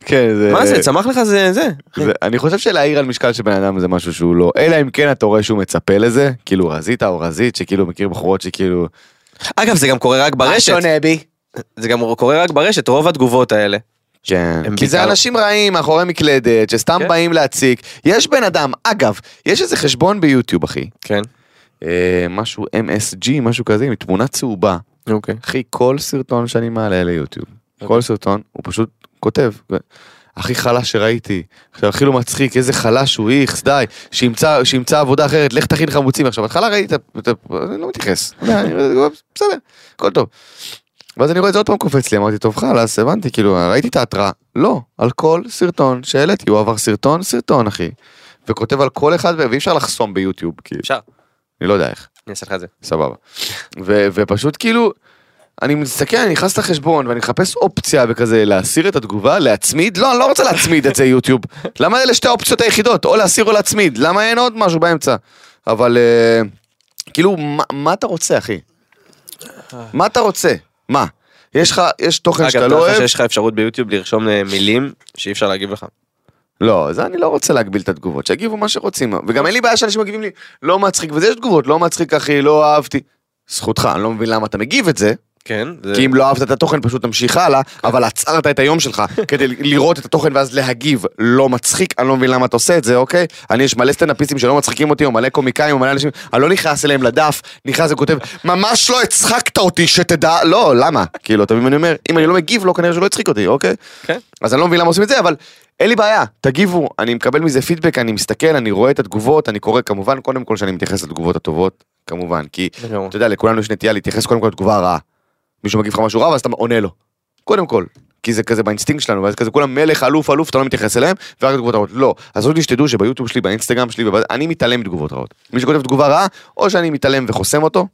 C: כן, זה...
B: מה זה, צמח לך זה, זה.
C: זה, אני חושב שלהעיר על משקל של בן אדם זה משהו שהוא לא, אלא אם כן אתה רואה שהוא מצפה לזה, כאילו רזית או רזית, שכאילו מכיר בחורות שכאילו,
B: אגב, זה גם קורה רק
E: מה
B: ברשת.
E: שונה בי?
B: זה גם קורה רק ברשת, רוב התגובות האלה.
C: כן.
B: הם
C: כי זה
B: בעיקר-
C: אנשים רעים מאחורי מקלדת, שסתם
B: כן.
C: באים להציק. יש בן אדם, אגב, יש איזה חשבון ביוטיוב, אחי.
B: כן.
C: אה, משהו MSG, משהו כזה, עם תמונה צהובה.
B: אוקיי.
C: אחי, כל סרטון שאני מעלה ליוטיוב, כל סרטון, הוא פשוט כותב. הכי חלש שראיתי, עכשיו הכי לא מצחיק, איזה חלש הוא, איכס, די, שימצא, שימצא עבודה אחרת, לך תכין חמוצים. עכשיו, בהתחלה ראיתי את ה... את ה- אני לא מתייחס, אתה יודע, אני- בסדר, הכל טוב. ואז אני רואה את זה עוד פעם קופץ לי, אמרתי, טוב חלאס, הבנתי, כאילו, ראיתי את ההתראה. לא, על כל סרטון שהעליתי, הוא עבר סרטון, סרטון, אחי. וכותב על כל אחד, ואי אפשר לחסום ביוטיוב, כאילו,
B: אפשר,
C: אני לא יודע איך.
B: אני אעשה לך את זה.
C: סבבה. ו- ופשוט כאילו, אני מסתכל, אני נכנס לחשבון ואני מחפש אופציה וכזה להסיר את התגובה, להצמיד, לא, אני לא רוצה להצמיד את זה
B: [LAUGHS]
C: יוטיוב. למה אלה שתי האופציות היחידות, או להסיר או להצמיד? למה אין עוד משהו באמצע? אבל אה, כאילו, מה, מה אתה רוצה, אחי? מה אתה רוצה? מה? יש לך, יש תוכן
B: אגב,
C: שאתה
B: אתה
C: לא
B: יודע
C: אוהב?
B: שיש לך אפשרות ביוטיוב לרשום אה, מילים שאי אפשר להגיב לך.
C: לא, זה אני לא רוצה להגביל את התגובות, שיגיבו מה שרוצים, וגם אין לי בעיה שאנשים מגיבים לי, לא מצחיק, וזה יש תגובות, לא מצחיק אחי, לא אהבתי. זכותך, אני לא מבין למה אתה מגיב את זה,
B: כן. זה-
C: כי אם לא אהבת את התוכן פשוט תמשיך הלאה, אבל עצרת את היום שלך כדי לראות את התוכן ואז להגיב לא מצחיק, אני לא מבין למה אתה עושה את זה, אוקיי? אני יש מלא סטנדאפיסטים שלא מצחיקים אותי, או מלא קומיקאים, או מלא אנשים, אני לא נכנס אליהם לדף, נכנס וכותב, ממש לא הצחקת אותי שתדע, לא, למה? כאילו, אתה מבין מה אני אומר? אם אני לא מגיב לו, כנראה שלא הצחיק אותי, אוקיי?
B: כן.
C: אז אני לא מבין למה עושים את זה, אבל אין לי בעיה, תגיבו, אני מקבל מזה פידבק, אני מסתכל, אני רואה את התגובות, אני קורא כמובן, קודם כל שאני מתייחס לתגובות הטובות, כמובן, כי
B: לגמרי.
C: אתה יודע, לכולנו יש נטייה להתייחס קודם כל לתגובה הרעה. מישהו מגיב לך משהו רע, ואז אתה עונה לו. קודם כל. כי זה כזה באינסטינקט שלנו, ואז כזה כולם מלך, אלוף, אלוף, אתה לא מתייחס אליהם, ורק תגובות רעות. לא. אז עוד שתדעו שביוטיוב שלי, באינסטגרם שלי, ובא- אני מתעלם מתגובות רעות. מי שכותב תגובה רעה, או שאני מתעלם וחוסם אותו,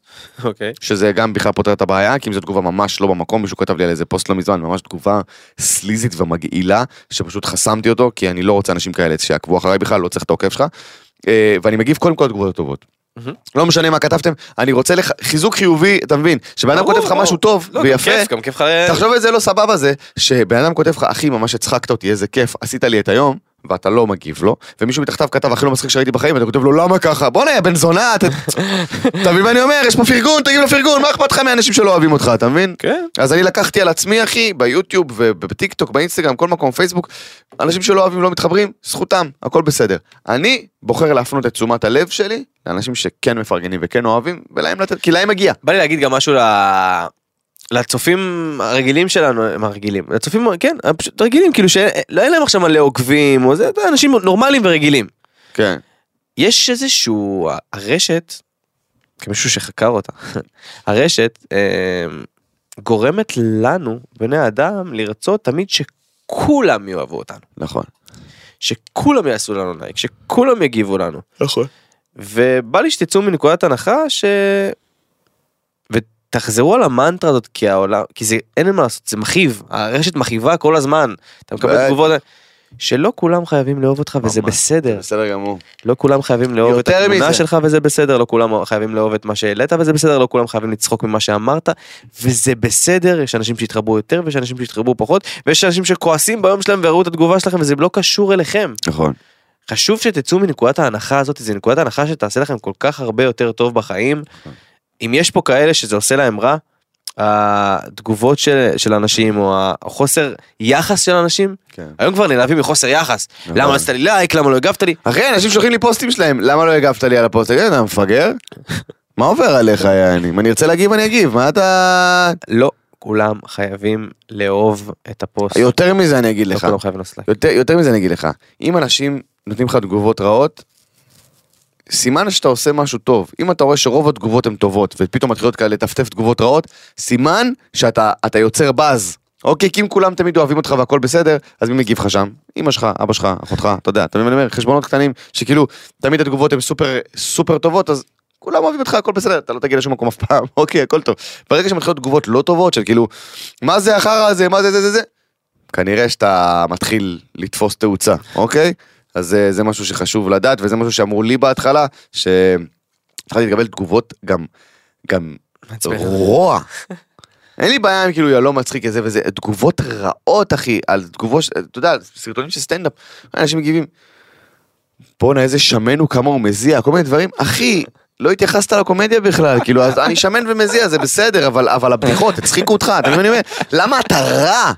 B: אוקיי.
C: שזה גם בכלל פותר את הבעיה, כי אם זו תגובה ממש לא במקום, מישהו כתב לי על איזה פוסט לא מזמן, ממש תגובה סליזית ומגעילה, שפשוט חסמתי אותו, כי אני לא רוצה אנשים כאלה שיעקבו אחריי בכלל, לא צריך את העוקף שלך. אה, ואני מגיב קודם כל לתגובות הטובות.
B: מהמם.
C: לא משנה מה כתבתם, אני רוצה לח- חיזוק חיובי, אתה מבין? שבן אדם
B: ברור,
C: כותב לך
B: ברור.
C: משהו טוב
B: לא, גם
C: ויפה,
B: כיף, גם כיף לך...
C: תחשוב איזה לא סבבה זה, שבן אדם כותב לך, אחי, ממש הצחקת אותי, איזה כיף, עשית לי את היום, ואתה לא מגיב לו, ומישהו מתחתיו כתב, הכי לא מצחיק שראיתי בחיים, ואתה כותב לו, למה ככה? בואנה, יא בן זונה, [LAUGHS] אתה... אתה מבין מה אני אומר? יש פה פרגון, תגיב לפרגון, מה אכפת לך מאנשים שלא אוהבים אותך, אתה מבין?
B: כן.
C: אז אני לקחתי על עצמי, אחי, ביוטיוב ובטיק טוק, באינסטגרם, כל מקום, פייסבוק, אנשים שלא אוהבים, לא מתחברים, זכותם, הכל בסדר. אני בוחר להפנות את תשומת הלב שלי לאנשים שכן מפרגנים וכן אוהבים, ולהם לתת, כי להם מגיע.
B: בא לי להגיד גם משהו ל- לצופים הרגילים שלנו, הם הרגילים, לצופים, כן, פשוט רגילים, כאילו שאין אין להם עכשיו מלא עוקבים, או זה, אתה יודע, אנשים נורמליים ורגילים.
C: כן.
B: יש איזשהו, הרשת, כמישהו שחקר אותה, [LAUGHS] הרשת אה, גורמת לנו, בני האדם, לרצות תמיד שכולם יאהבו אותנו,
C: נכון.
B: שכולם יעשו לנו לייק, שכולם יגיבו לנו.
C: נכון.
B: ובא לי שתצאו מנקודת הנחה ש... ותחזרו על המנטרה הזאת כי העולם כי זה אין מה לעשות זה מכאיב הרשת מכאיבה כל הזמן אתה
C: בטח.
B: מקבל תגובות שלא כולם חייבים לאהוב אותך וזה
C: ממש.
B: בסדר
C: בסדר גמור.
B: לא כולם חייבים לאהוב את
C: יותר
B: התמונה
C: מזה.
B: שלך וזה בסדר לא כולם חייבים לאהוב את מה שהעלית וזה בסדר לא כולם חייבים לצחוק ממה שאמרת וזה בסדר יש אנשים שהתרבו יותר ויש אנשים שהתרבו פחות ויש אנשים שכועסים ביום שלהם וראו את התגובה שלכם וזה לא קשור אליכם.
C: נכון.
B: חשוב שתצאו מנקודת ההנחה הזאת, זו נקודת ההנחה שתעשה לכם כל כך הרבה יותר טוב בחיים. אם יש פה כאלה שזה עושה להם רע, התגובות של, של אנשים או החוסר יחס של אנשים,
C: כן.
B: היום כבר נלהבים מחוסר יחס.
C: נכון.
B: למה לא עשית לי לייק, למה לא הגבת לי?
C: אחי, אנשים שולחים לי פוסטים שלהם, למה לא הגבת לי על הפוסט? תגיד, אתה מפגר? מה עובר עליך, יעני? אם אני ארצה להגיב, אני אגיב, מה אתה...
B: לא כולם חייבים לאהוב את הפוסט.
C: יותר מזה אני אגיד
B: לא
C: לך.
B: כולם חייבים לעשות לייק.
C: יותר, יותר מזה אני אגיד לך, אם אנשים נותנים לך תגובות רעות, סימן שאתה עושה משהו טוב. אם אתה רואה שרוב התגובות הן טובות, ופתאום מתחילות כאלה לטפטף תגובות רעות, סימן שאתה אתה יוצר באז. אוקיי, כי אם כולם תמיד אוהבים אותך והכל בסדר, אז מי מגיב לך שם? אמא שלך, אבא שלך, אחותך, אתה יודע, אתה מבין מה אני אומר? חשבונות קטנים, שכאילו, תמיד התגובות הן סופר סופר טובות, אז כולם אוהבים אותך, הכל בסדר, אתה לא תגיע לשום מקום אף פעם, [LAUGHS] אוקיי, הכל טוב. ברגע שמתחילות תגובות לא טובות, של כאילו, מה זה החרא הזה, מה זה זה זה זה, כנראה שאתה מתחיל לתפוס תאוצה, אוקיי? אז זה, זה משהו שחשוב לדעת, וזה משהו שאמרו לי בהתחלה, שהתחלתי לקבל תגובות גם, גם רוע. אין לי בעיה עם כאילו, יא לא מצחיק את זה וזה, תגובות רעות, אחי, על תגובות, ש- אתה יודע, על סרטונים של סטנדאפ, אנשים מגיבים, בואנה איזה שמן הוא כמה הוא מזיע, כל מיני דברים, אחי, לא התייחסת לקומדיה בכלל, כאילו, אז אני שמן ומזיע, זה בסדר, אבל, אבל הבדיחות, הצחיקו אותך, אתה מבין? אני אומר, למה אתה רע?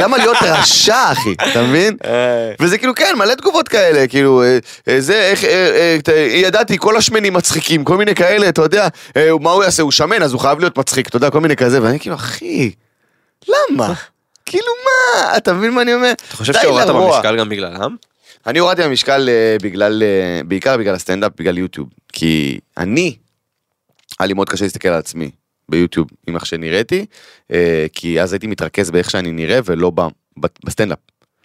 C: למה להיות רשע, אחי? אתה מבין?
B: אה,
C: וזה כאילו, כן, מלא תגובות כאלה, כאילו, אה, אה, זה, איך, אה, אה, ת- ידעתי, כל השמנים מצחיקים, כל מיני כאלה, אתה יודע, אה, מה הוא יעשה, הוא שמן, אז הוא חייב להיות מצחיק, אתה יודע, כל מיני כזה, ואני כאילו, אחי,
B: [LAUGHS]
C: למה? כאילו, מה? אתה מבין מה אני אומר?
B: אתה חושב שהורדת במשקל גם בגללם?
C: אני הורדתי במשקל אה, בגלל, אה, בעיקר בגלל הסטנדאפ, בגלל יוטיוב. כי אני, היה לי מאוד קשה להסתכל על עצמי ביוטיוב עם איך שנראיתי, אה, כי אז הייתי מתרכז באיך שאני נראה ולא ב- ב- בסטנדאפ.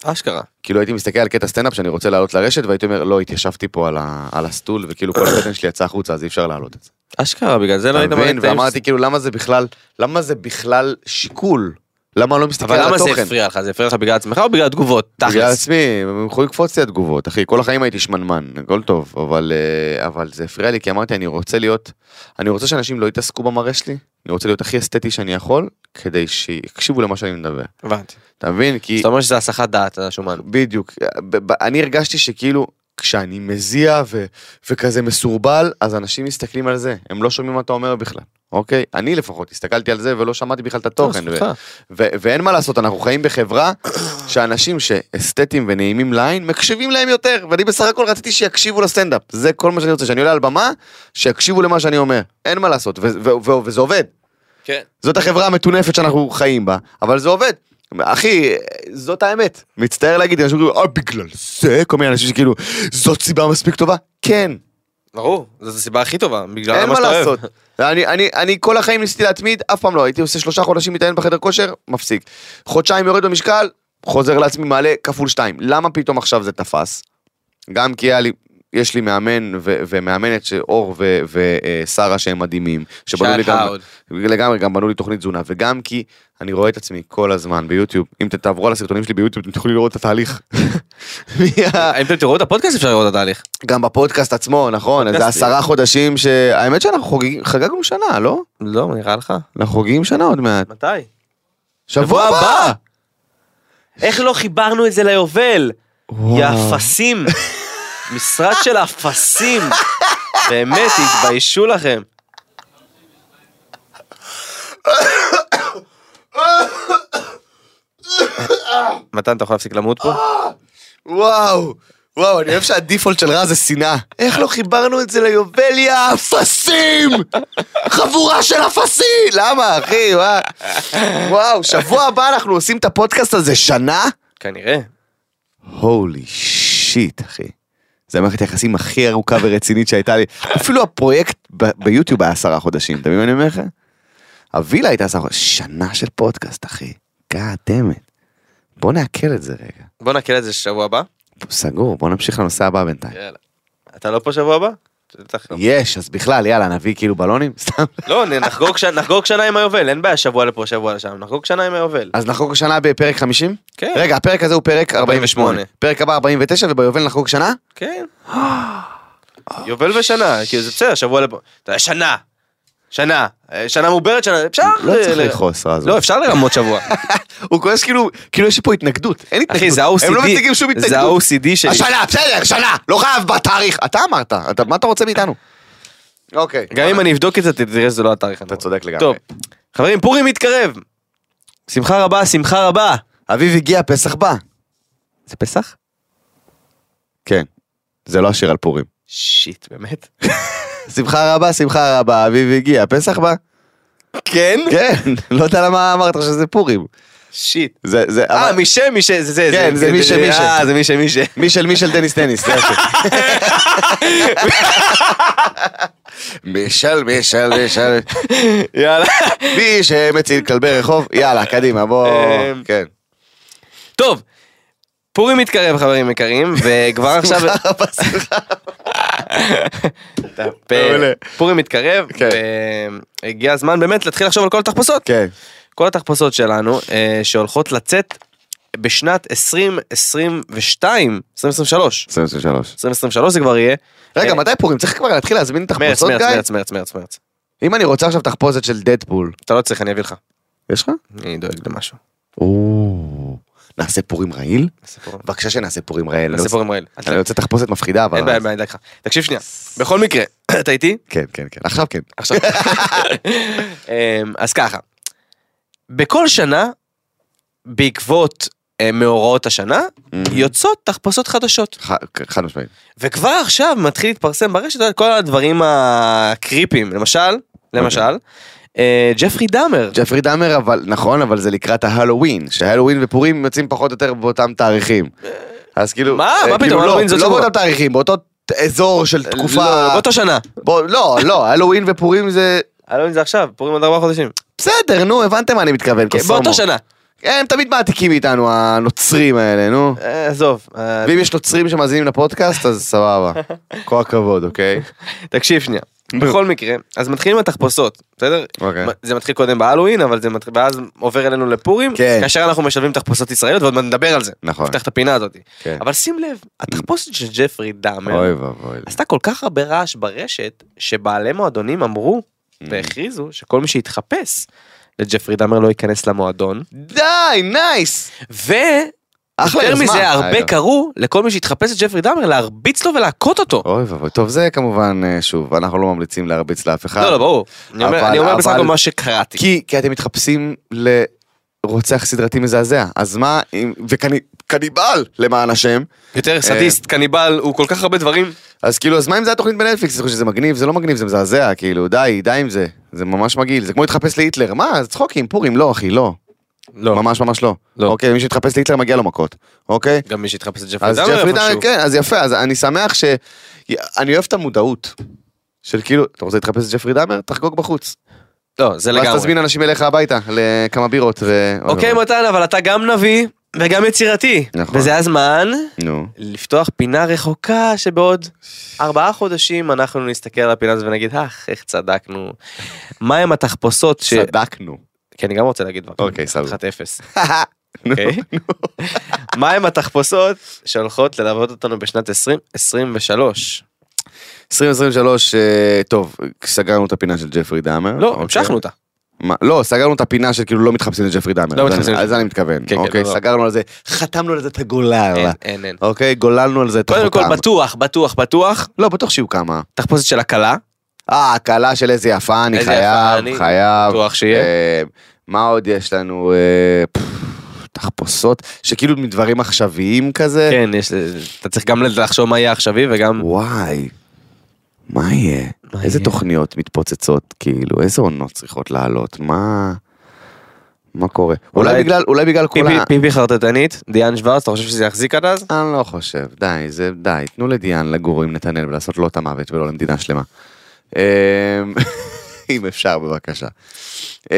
B: אשכרה.
C: כאילו הייתי מסתכל על קטע סטנדאפ שאני רוצה לעלות לרשת והייתי אומר לא התיישבתי פה על, ה, על הסטול וכאילו כל הבטן שלי יצא החוצה אז אי אפשר להעלות את זה.
B: אשכרה, בגלל זה לא היית
C: אתה
B: מבין,
C: מבין? ואמרתי כאילו למה זה בכלל למה זה בכלל שיקול למה אני לא מסתכל
B: אבל
C: על התוכן.
B: למה זה הפריע לך? זה הפריע לך בגלל עצמך או בגלל תגובות?
C: בגלל
B: תכלס.
C: עצמי, הם יכולים לקפוץ לי התגובות, אחי, כל החיים הייתי שמנמן, הכל טוב, אבל, אה, אבל זה הפריע לי, כי אמרתי, אני רוצה להיות, אני רוצה שאנשים לא יתעסקו במראה שלי, אני רוצה להיות הכי אסתטי שאני יכול, כדי שיקשיבו למה שאני מדבר.
B: הבנתי.
C: אתה מבין? כי...
B: זאת אומרת שזה הסחת דעת, אתה שומן.
C: בדיוק. אה, ב- ב- אני הרגשתי שכאילו, כשאני מזיע ו- וכזה מסורבל, אז אנשים מסתכלים על זה, הם לא שומעים מה אתה אומר בכלל, אוקיי? אני לפחות הסתכלתי על זה ולא שמעתי בכלל את התוכן.
B: זכותך.
C: ו- ואין מה לעשות, אנחנו חיים בחברה שאנשים שאסתטיים ונעימים לעין, מקשיבים להם יותר, ואני בסך הכל רציתי שיקשיבו לסטנדאפ, זה כל מה שאני רוצה, שאני עולה על במה, שיקשיבו למה שאני אומר, אין מה לעשות, ו- ו- ו- וזה עובד.
B: כן.
C: זאת החברה המטונפת שאנחנו חיים בה, אבל זה עובד. אחי, זאת האמת. מצטער להגיד, אנשים אומרים, אה, בגלל זה, כל מיני אנשים שכאילו, זאת סיבה מספיק טובה? כן,
B: ברור, זאת הסיבה הכי טובה, בגלל
C: אין
B: מה
C: מה
B: שאתה לא, אוהב.
C: לעשות. אני, אני, אני כל החיים ניסיתי להתמיד, אף פעם לא, הייתי עושה שלושה חודשים מתעניין בחדר כושר, מפסיק. חודשיים יורד במשקל, חוזר לעצמי מעלה כפול שתיים. למה פתאום עכשיו זה תפס? גם כי היה לי, יש לי מאמן ו, ומאמנת שאור ושרה אה, שהם מדהימים. שבנו לי
B: שהיה לך
C: גם-
B: עוד.
C: לגמרי, גם בנו לי תוכנית תזונה, וגם כי אני רואה את עצמי כל הזמן ביוטיוב. אם אתם תעברו על הסרטונים שלי ביוטיוב, אתם תוכלו לראות את התהליך. [LAUGHS] מה-
B: [LAUGHS] אם אתם תראו את הפודקאסט אפשר לראות את התהליך.
C: גם בפודקאסט עצמו, נכון, אז זה
B: פודקאסטים.
C: עשרה חודשים ש... האמת שאנחנו חוגגים, חגגנו שנה, לא?
B: לא, נראה לך?
C: אנחנו חוגגים שנה עוד מעט.
B: מתי?
C: שבוע הבא!
B: איך לא חיברנו את זה ליובל?
C: וואו.
B: יא אפסים. משרד של אפסים. באמת, התביישו לכם. מתן, אתה יכול להפסיק למות פה?
C: וואו! וואו, אני אוהב שהדיפולט של רע זה שנאה. איך לא חיברנו את זה ליובל, יא אפסים! חבורה של אפסים! למה, אחי? וואו. וואו, שבוע הבא אנחנו עושים את הפודקאסט הזה שנה?
B: כנראה.
C: הולי שיט, אחי. זה המערכת היחסים הכי ארוכה ורצינית שהייתה לי. אפילו הפרויקט ב- ביוטיוב היה עשרה חודשים, אתה מבין מה אני אומר לך? הווילה הייתה עשרה חודשים. שנה של פודקאסט, אחי. God damn it. בוא נעכל את זה רגע.
B: בוא נקל את זה שבוע הבא.
C: סגור, בוא נמשיך לנושא הבא בינתיים.
B: יאללה. אתה לא פה שבוע הבא? בטח לא.
C: יש, אז בכלל, יאללה, נביא כאילו בלונים? [LAUGHS] סתם.
B: לא, נ- נחגוג ש- נחגוג שנה עם היובל, אין בעיה שבוע לפה, שבוע לשם, נחגוג שנה עם היובל.
C: אז נחגוג שנה בפרק 50?
B: כן.
C: רגע, הפרק הזה הוא פרק 48.
B: 48.
C: פרק הבא 49, וביובל נחגוג שנה?
B: כן. [GASPS] יובל ושנה, כאילו זה בסדר, שבוע לפה. אתה יודע, שנה. שנה. אה, שנה מעוברת, שנה, אפשר.
C: לא
B: ל-
C: צריך
B: ל-
C: לכעוס, רז.
B: אה, לא, אפשר
C: [LAUGHS]
B: לרמות שבוע.
C: הוא כועס כאילו, כאילו יש פה התנגדות. אין התנגדות.
B: אחי, זה ה-OCD.
C: הם לא מציגים שום התנגדות.
B: זה ה-OCD שלי.
C: השנה, בסדר, שנה, לא חייב בתאריך. אתה אמרת, אתה- מה אתה רוצה מאיתנו? אוקיי.
B: גם אם אני אבדוק את זה, תראה שזה לא התאריך.
C: אתה צודק לגמרי.
B: טוב. חברים, פורים מתקרב. שמחה רבה, שמחה רבה.
C: אביב הגיע, פסח בא.
B: זה פסח?
C: כן. זה לא השיר על פורים.
B: שיט, באמת?
C: שמחה רבה, שמחה רבה, אביב הגיע, פסח בא.
B: כן?
C: כן, לא יודע למה אמרת שזה פורים.
B: שיט.
C: זה, זה,
B: אה,
C: אבל-
B: מישה, מישה, זה זה.
C: כן, זה מישה, מישה.
B: אה, זה מישה, מישה.
C: מישל מישל דניס דניס, זה יפה. מישל מישל מישל
B: יאללה. [LAUGHS]
C: מי שמציל כלבי רחוב יאללה קדימה בוא
B: אמ,
C: כן.
B: טוב, פורים מתקרב חברים יקרים, וכבר
C: [LAUGHS]
B: עכשיו...
C: שמחה רבה, שמחה.
B: אתה פה. פורים מתקרב,
C: כן.
B: והגיע הזמן באמת להתחיל לחשוב על כל התחפושות.
C: כן.
B: כל התחפושות שלנו אה, שהולכות לצאת בשנת 2022, 2023,
C: 23.
B: 2023 זה כבר יהיה.
C: רגע
B: אה,
C: מתי פורים צריך כבר להתחיל להזמין
B: מרץ,
C: תחפושות
B: מרץ,
C: גיא?
B: מרץ, מרץ, מרץ, מרץ.
C: אם אני רוצה עכשיו תחפושת של דדפול.
B: אתה לא צריך, אני אביא לך.
C: יש לך?
B: אני דואג למשהו.
C: או, נעשה פורים רעיל?
B: נעשה פורים-
C: בבקשה שנעשה פורים רעיל.
B: נעשה פורים רעיל.
C: אני רוצה תחפושת מפחידה אבל.
B: אין בעיה, אין בעיה, אני אדאג לך. תקשיב שנייה. בכל מקרה, [COUGHS] אתה איתי?
C: כן, כן, כן. עכשיו כן. [LAUGHS]
B: עכשיו. אמ, אז ככה, בכל שנה, בעקבות אה, מאורעות השנה,
C: Mm.
B: יוצאות תחפושות חדשות.
C: ח- חד משמעית.
B: וכבר עכשיו מתחיל להתפרסם ברשת על כל הדברים הקריפים. למשל, למשל, אה, ג'פרי דאמר.
C: ג'פרי דאמר, אבל, נכון, אבל זה לקראת ההלואוין, שההלואוין ופורים יוצאים פחות או יותר באותם תאריכים. אז כאילו...
B: מה?
C: אה, כאילו,
B: מה פתאום,
C: לא,
B: ההלואוין זה
C: לא
B: שבוע.
C: באותם תאריכים, באותו ת- אזור של תקופה...
B: לא, באותה שנה.
C: בוא, לא, לא, הלואוין ופורים זה...
B: הלואוין לא זה עכשיו, פורים עוד ארבעה חודשים.
C: בסדר, נו, הבנתם מה אני מתכוון,
B: כן,
C: קוסומו.
B: באותה שנה.
C: הם תמיד מעתיקים מאיתנו, הנוצרים האלה, נו.
B: אה, עזוב. אה,
C: ואם יש נוצרים שמאזינים לפודקאסט, אז
B: [LAUGHS]
C: סבבה. כל הכבוד, אוקיי?
B: תקשיב שנייה. בכל מקרה, אז מתחילים התחפושות, בסדר?
C: אוקיי.
B: זה מתחיל קודם בהלואוין, אבל זה מתחיל, ואז עובר אלינו לפורים,
C: כן.
B: כאשר אנחנו משלבים תחפושות ישראליות, ועוד מעט נדבר על זה.
C: נכון.
B: נפתח את הפינה הזאת.
C: כן.
B: אבל שים לב, התחפושת של ג'פרי דאמר
C: אוי ואבוי.
B: עשתה כל כך הרבה רעש ברשת, שבעלי מועדונים אמרו והכריזו שכל מי שיתחפש לג'פרי דאמר לא ייכנס למועדון,
C: די, נייס! אחלה
B: ויותר
C: יוזמה.
B: מזה
C: אגב.
B: הרבה קראו לכל מי שיתחפש לג'פרי דאמר להרביץ לו ולהכות אותו.
C: אוי ואבוי. טוב, זה כמובן, אה, שוב, אנחנו לא ממליצים להרביץ לאף אחד.
B: לא, לא, ברור. אני אומר
C: אבל-
B: אני אומר בסך הכל
C: אבל-
B: מה שקראתי.
C: כי, כי אתם מתחפשים לרוצח סדרתי מזעזע, אז מה אם... וקניבל, למען השם.
B: יותר סדיסט, קניבל, הוא כל כך הרבה דברים.
C: אז כאילו, אז מה אם זה התוכנית בנטפליקס? אתה חושב שזה מגניב? זה לא מגניב, זה מזעזע, כאילו, די, די עם זה. זה ממש מגעיל, זה כמו להתחפש להיטלר. מה, זה צחוקים, פורים, לא, אחי, לא.
B: לא.
C: ממש ממש לא.
B: לא.
C: אוקיי, מי שהתחפש להיטלר מגיע לו מכות, אוקיי?
B: גם לא מי שהתחפש לג'פרי
C: אז
B: דאמר
C: ג'פרי דאמר,
B: איפשהו.
C: כן, אז יפה, אז אני שמח ש... אני אוהב את המודעות. של כאילו, אתה רוצה להתחפש לג'פרי דאמר? תחגוג בחוץ.
B: לא, זה
C: ואז
B: לגמרי.
C: תזמין אנשים אליך הביתה, לכמה בירות ו...
B: אוקיי מתן, אבל אתה גם נביא וגם יצירתי.
C: נכון.
B: וזה הזמן
C: נו.
B: לפתוח פינה רחוקה שבעוד ארבעה חודשים אנחנו נסתכל על הפינה הזאת ונגיד, אך, איך צדקנו. מה הם התחפושות ש...
C: צדקנו.
B: כי אני גם רוצה להגיד דבר.
C: אוקיי, סבבה.
B: אחת אפס.
C: [LAUGHS]
B: אוקיי? מה הם התחפושות שהולכות ללוות אותנו בשנת 2023?
C: 2023, אה, טוב, סגרנו את הפינה של ג'פרי דאמר.
B: לא,
C: אוקיי.
B: המשכנו אותה.
C: מה, לא, סגרנו את הפינה של כאילו לא מתחפשים לג'פרי דאמר.
B: לא
C: אז
B: מתחפשים
C: אני-
B: לג'פרי.
C: על זה אני מתכוון.
B: כן, כן,
C: אוקיי,
B: לא, לא.
C: סגרנו על זה, חתמנו על זה את הגולל.
B: אין, אין, אין.
C: אוקיי, גוללנו על זה את
B: קודם
C: החותם.
B: כל, בטוח, בטוח, בטוח,
C: לא, בטוח שיהיו כמה.
B: תחפושת של הכלה,
C: אה, הקלה של איזה יפה, אני
B: איזה יפה
C: חייב,
B: אני.
C: חייב.
B: בטוח שיהיה.
C: אה, מה עוד יש לנו? אה, פפפ, תחפושות, שכאילו מדברים עכשוויים כזה.
B: כן, יש, אתה צריך גם לחשוב מה יהיה עכשווי וגם...
C: וואי, מה יהיה?
B: מה
C: איזה
B: יהיה?
C: תוכניות מתפוצצות, כאילו, איזה עונות צריכות לעלות? מה... מה קורה? אולי
B: אולי-
C: בגלל, אולי בגלל כל ה...
B: פיפי- פיפי חרטטנית, דיאן שוורץ, אתה חושב שזה יחזיק עד אז?
C: אני לא חושב, די, זה די, תנו לדיאן לגור עם נתנאל ולעשות לו את המוות ולא למדינה שלמה. אמ, [LAUGHS] אם אפשר בבקשה. אמ,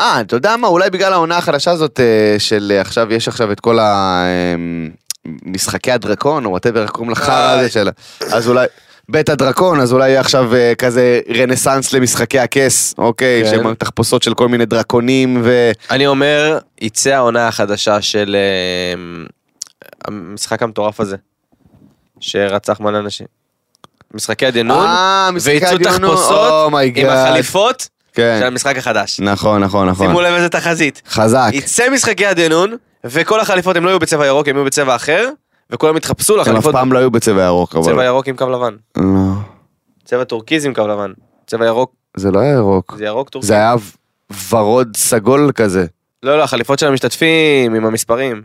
C: אה, אתה יודע מה, אולי בגלל העונה החדשה הזאת אה, של אה, עכשיו, יש עכשיו את כל ה... אמ, משחקי הדרקון, או וואטאבר, איך קוראים לחרא הזה של... אז אולי... בית הדרקון, אז אולי יהיה עכשיו אה, כזה רנסאנס למשחקי הכס, אוקיי?
B: כן.
C: שהם תחפושות של כל מיני דרקונים ו...
B: אני אומר, יצא העונה החדשה של אמ, המשחק המטורף הזה, שרצח מלא אנשים. משחקי הדנון,
C: אה, משחקי
B: ויצאו
C: הדיון,
B: תחפושות
C: אומייגאד.
B: עם החליפות
C: כן.
B: של המשחק החדש.
C: נכון, נכון, נכון.
B: שימו לב איזה תחזית.
C: חזק.
B: יצא משחקי הדנון, וכל החליפות הם לא יהיו בצבע ירוק, הם יהיו בצבע אחר, וכולם יתחפשו
C: הם אף
B: לחליפות
C: פעם לא היו בצבע ירוק, אבל...
B: בצבע ירוק עם קו לבן.
C: לא.
B: צבע טורקיז עם קו לבן. צבע ירוק,
C: זה לא היה ירוק.
B: זה ירוק טורקיז.
C: זה היה ורוד סגול כזה.
B: לא, לא, החליפות של המשתתפים עם המספרים.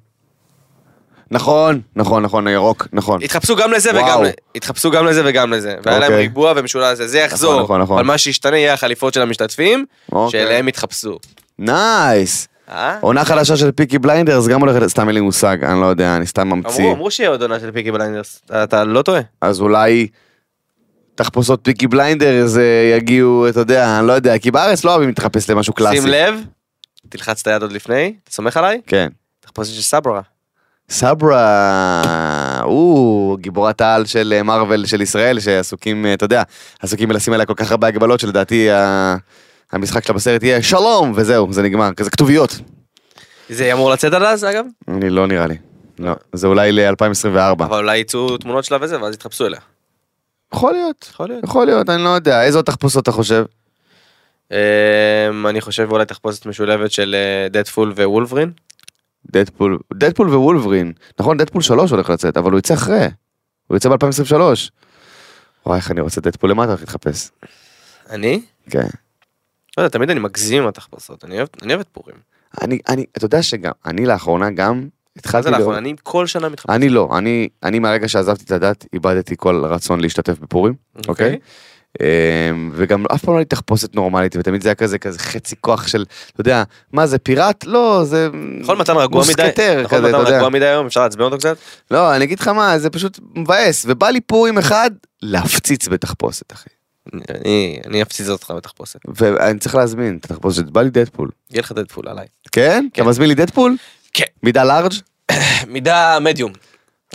C: נכון, נכון, נכון, ירוק, נכון.
B: התחפשו גם לזה
C: וואו.
B: וגם לזה. התחפשו גם לזה וגם לזה. והיה להם
C: אוקיי.
B: ריבוע ומשולש זה, זה יחזור.
C: נכון, נכון.
B: אבל מה שישתנה יהיה החליפות של המשתתפים,
C: אוקיי.
B: שאליהם יתחפשו.
C: נייס.
B: אה?
C: עונה חדשה של פיקי בליינדרס גם הולכת, סתם אין לי מושג, אני לא יודע, אני סתם ממציא.
B: אמרו, אמרו שיהיה עוד עונה של פיקי בליינדרס. אתה- אתה לא טועה.
C: אז אולי תחפושות פיקי בליינדרס אה, יגיעו, אתה יודע, אני לא יודע, כי בארץ לא אוהבים להתחפש למשהו קלאסי.
B: שים לב, תלחץ את היד עוד לפני, אתה סומך עליי?
C: כן.
B: תחפושת של סברה.
C: סברה, הוא גיבורת העל של אה, מארוול של ישראל, שעסוקים, אה, אתה יודע, עסוקים בלשים עליה כל כך הרבה הגבלות, שלדעתי ה- המשחק שלה בסרט יהיה שלום, וזהו, זה נגמר, כזה כתוביות.
B: זה אמור לצאת עד אז אגב,
C: אני לא נראה לי. לא, זה אולי ל-2024.
B: אבל אולי יצאו תמונות שלה וזה, ואז יתחפשו אליה.
C: יכול להיות,
B: יכול להיות.
C: יכול להיות, אני לא יודע. איזה עוד תחפושות אתה חושב?
B: אמ, אני חושב אולי תחפושת משולבת של אה, דדפול ווולברין.
C: דדפול, דדפול ווולברין. נכון, דדפול 3 הולך לצאת, אבל הוא יצא אחרי. הוא יצא ב-2023. וואי, איך אני רוצה לתת פה למטה, רק להתחפש.
B: אני?
C: כן.
B: לא יודע, תמיד אני מגזים עם התחפושות, אני אוהב- אני אוהב את פורים.
C: אני, אני, אתה יודע שגם, אני לאחרונה גם
B: מה
C: התחלתי
B: זה לאחרונה? אני כל שנה מתחפש.
C: אני לא, אני, אני מהרגע שעזבתי את הדת, איבדתי כל רצון להשתתף בפורים, אוקיי? אמ, וגם אף פעם לא הייתי תחפושת נורמלית, ותמיד זה היה כזה, כזה חצי כוח של, אתה יודע, מה זה פיראט? לא, זה...
B: נכון מתן רגוע מדי,
C: מוסקטר
B: נכון
C: כזה, אתה
B: מתן
C: יודע.
B: רגוע מדי היום, אפשר לעצבן אותו קצת?
C: לא, אני אגיד לך מה, זה פשוט מבאס, ובא לי פורים אחד, להפציץ בתחפושת, אחי.
B: אני- אני אפציץ אותך בתחפושת.
C: ואני צריך להזמין את התחפושת, בא לי דדפול.
B: יהיה לך דדפול עליי.
C: כן? אתה מזמין לי דדפול?
B: כן.
C: מידה לארג'?
B: [LAUGHS] מידה מדיום.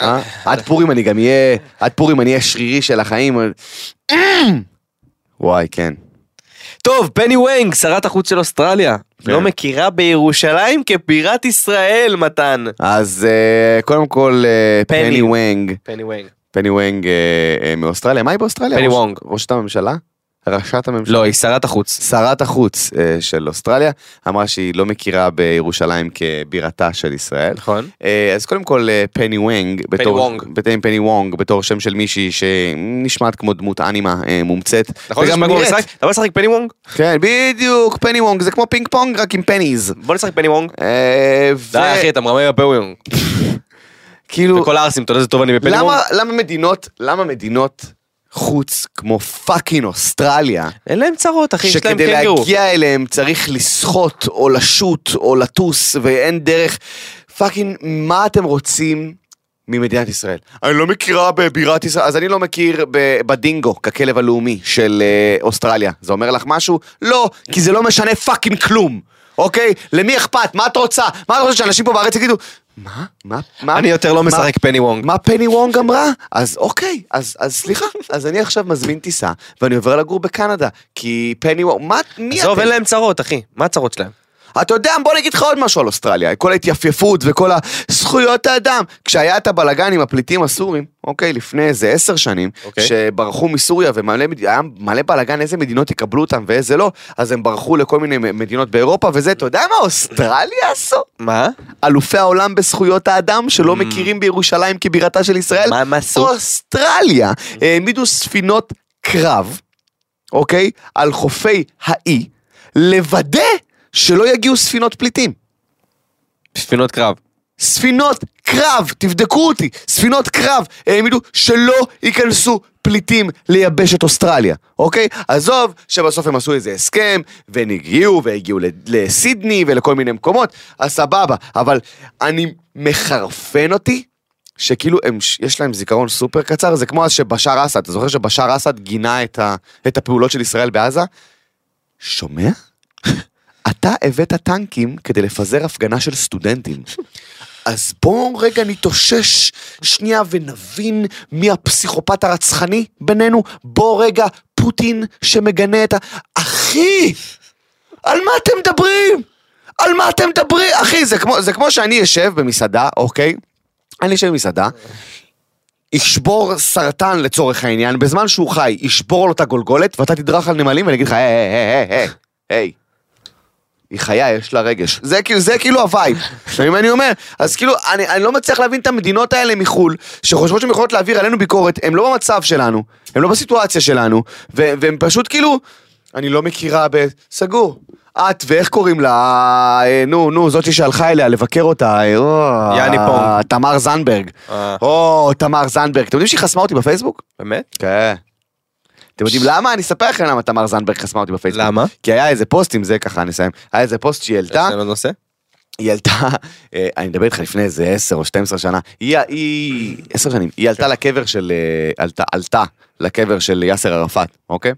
C: אה? עד פורים אני גם אהיה, עד פורים אני אהיה שרירי של החיים. וואי, כן.
B: טוב, פני וונג, שרת החוץ של אוסטרליה.
C: כן.
B: לא מכירה בירושלים כבירת ישראל, מתן.
C: אז אה, קודם כל, אה,
B: פני.
C: פני וונג,
B: פני וונג.
C: פני וונג אה, אה, מאוסטרליה, מה היא באוסטרליה?
B: פני
C: ראש-
B: וונג.
C: ראשת הממשלה? ראשת הממשלה.
B: לא, היא שרת החוץ.
C: שרת החוץ אה, של אוסטרליה אמרה שהיא לא מכירה בירושלים כבירתה של ישראל.
B: נכון.
C: אה, אז קודם כל אה, פני וונג,
B: וונג.
C: פני, פני וונג בתור שם של מישהי שנשמעת כמו דמות אנימה אה, מומצאת.
B: נכון, זה
C: וגם
B: נשמע כמו
C: נראית.
B: משחק? אתה בא לשחק פני וונג?
C: כן, בדיוק, פני וונג, זה כמו פינג פונג רק עם פניז.
B: בוא נשחק פני וונג.
C: אה, ו-
B: די אחי, אתה מרמה בפני וונג.
C: כאילו,
B: וכל הערסים, אתה יודע איזה טוב אני בפני וונג?
C: למה למה מדינות, למה מדינות חוץ כמו פאקינג אוסטרליה,
B: אין להם צרות, אחי, יש להם
C: שכדי
B: קנגרו.
C: להגיע אליהם צריך לסחוט או לשוט או לטוס ואין דרך, פאקינג, מה אתם רוצים? ממדינת ישראל. אני לא מכירה בבירת ישראל, אז אני לא מכיר ב- בדינגו ככלב הלאומי של אה, אוסטרליה. זה אומר לך משהו? לא, כי זה לא משנה פאקינג כלום, אוקיי? למי אכפת? מה את רוצה? מה את רוצה שאנשים פה בארץ יגידו? מה? מה? מה?
B: אני יותר לא
C: מה-
B: משחק פני וונג.
C: מה פני וונג אמרה? אז אוקיי, אז, אז סליחה, אז אני עכשיו מזמין טיסה, ואני עובר לגור בקנדה, כי פני וונג, מה, מי
B: עזוב,
C: אתם?
B: אין להם צרות, אחי. מה הצרות שלהם?
C: אתה יודע, בוא נגיד לך עוד משהו על אוסטרליה, כל ההתייפייפות וכל הזכויות האדם. כשהיה את הבלגן עם הפליטים הסורים, אוקיי, לפני איזה עשר שנים,
B: אוקיי.
C: שברחו מסוריה ומלא מד- היה מלא בלגן, איזה מדינות יקבלו אותם ואיזה לא, אז הם ברחו לכל מיני מ- מדינות באירופה וזה, אתה יודע מה אוסטרליה עשו?
B: מה?
C: אלופי העולם בזכויות האדם שלא מכירים בירושלים כבירתה של ישראל.
B: Mm. מה הם עשו?
C: אוסטרליה העמידו ספינות קרב, אוקיי? על חופי האי, לוודא שלא יגיעו ספינות פליטים.
B: ספינות קרב.
C: ספינות קרב, תבדקו אותי, ספינות קרב העמידו שלא ייכנסו פליטים ליבשת אוסטרליה, אוקיי? עזוב שבסוף הם עשו איזה הסכם, והם הגיעו והגיעו ל- לסידני ולכל מיני מקומות, אז סבבה, אבל אני מחרפן אותי. שכאילו הם, ש- יש להם זיכרון סופר קצר, זה כמו אז שבשאר אסד, אתה זוכר שבשאר אסד גינה את, ה, את הפעולות של ישראל בעזה? שומע? [LAUGHS] אתה הבאת טנקים כדי לפזר הפגנה של סטודנטים. אז בואו רגע נתאושש שנייה ונבין מי הפסיכופת הרצחני בינינו. בוא רגע, פוטין שמגנה את ה... אחי! על מה אתם מדברים? על מה אתם מדברים? אחי, זה כמו, זה כמו שאני אשב במסעדה, אוקיי? אני אשב במסעדה, ישבור סרטן לצורך העניין, בזמן שהוא חי, ישבור לו את הגולגולת, ואתה תדרך על נמלים ואני אגיד לך, היי, היי, היי, היי, היי. היא חיה, יש לה רגש. זה כאילו, זה כאילו הווייב. אתה מבין מה אני אומר? אז כאילו, אני, אני לא מצליח להבין את המדינות האלה מחו"ל, שחושבות שהן יכולות להעביר עלינו ביקורת, הן לא במצב שלנו, הן לא בסיטואציה שלנו, ו- והן פשוט כאילו, אני לא מכירה ב... סגור. את ואיך קוראים לה, אה, נו, נו, זאתי שהלכה אליה לבקר אותה, אה, או,
B: יעני פונג.
C: תמר זנדברג.
B: אה.
C: או, תמר זנדברג. אתם יודעים שהיא חסמה אותי בפייסבוק?
B: באמת?
C: כן. אתם יודעים למה? אני אספר לכם למה תמר זנדברג חסמה אותי בפייסבוק.
B: למה?
C: כי היה איזה פוסט עם זה, ככה נסיים. היה איזה פוסט שהיא
B: יש
C: העלתה,
B: להם עוד נושא?
C: היא העלתה, אה, אני מדבר איתך לפני איזה 10 או 12 שנה, היא, היא, 10 שנים, היא
B: כן.
C: עלתה לקבר של, אה, עלתה, עלתה לקבר של יאסר ערפאת,
B: [LAUGHS]
C: אוקיי?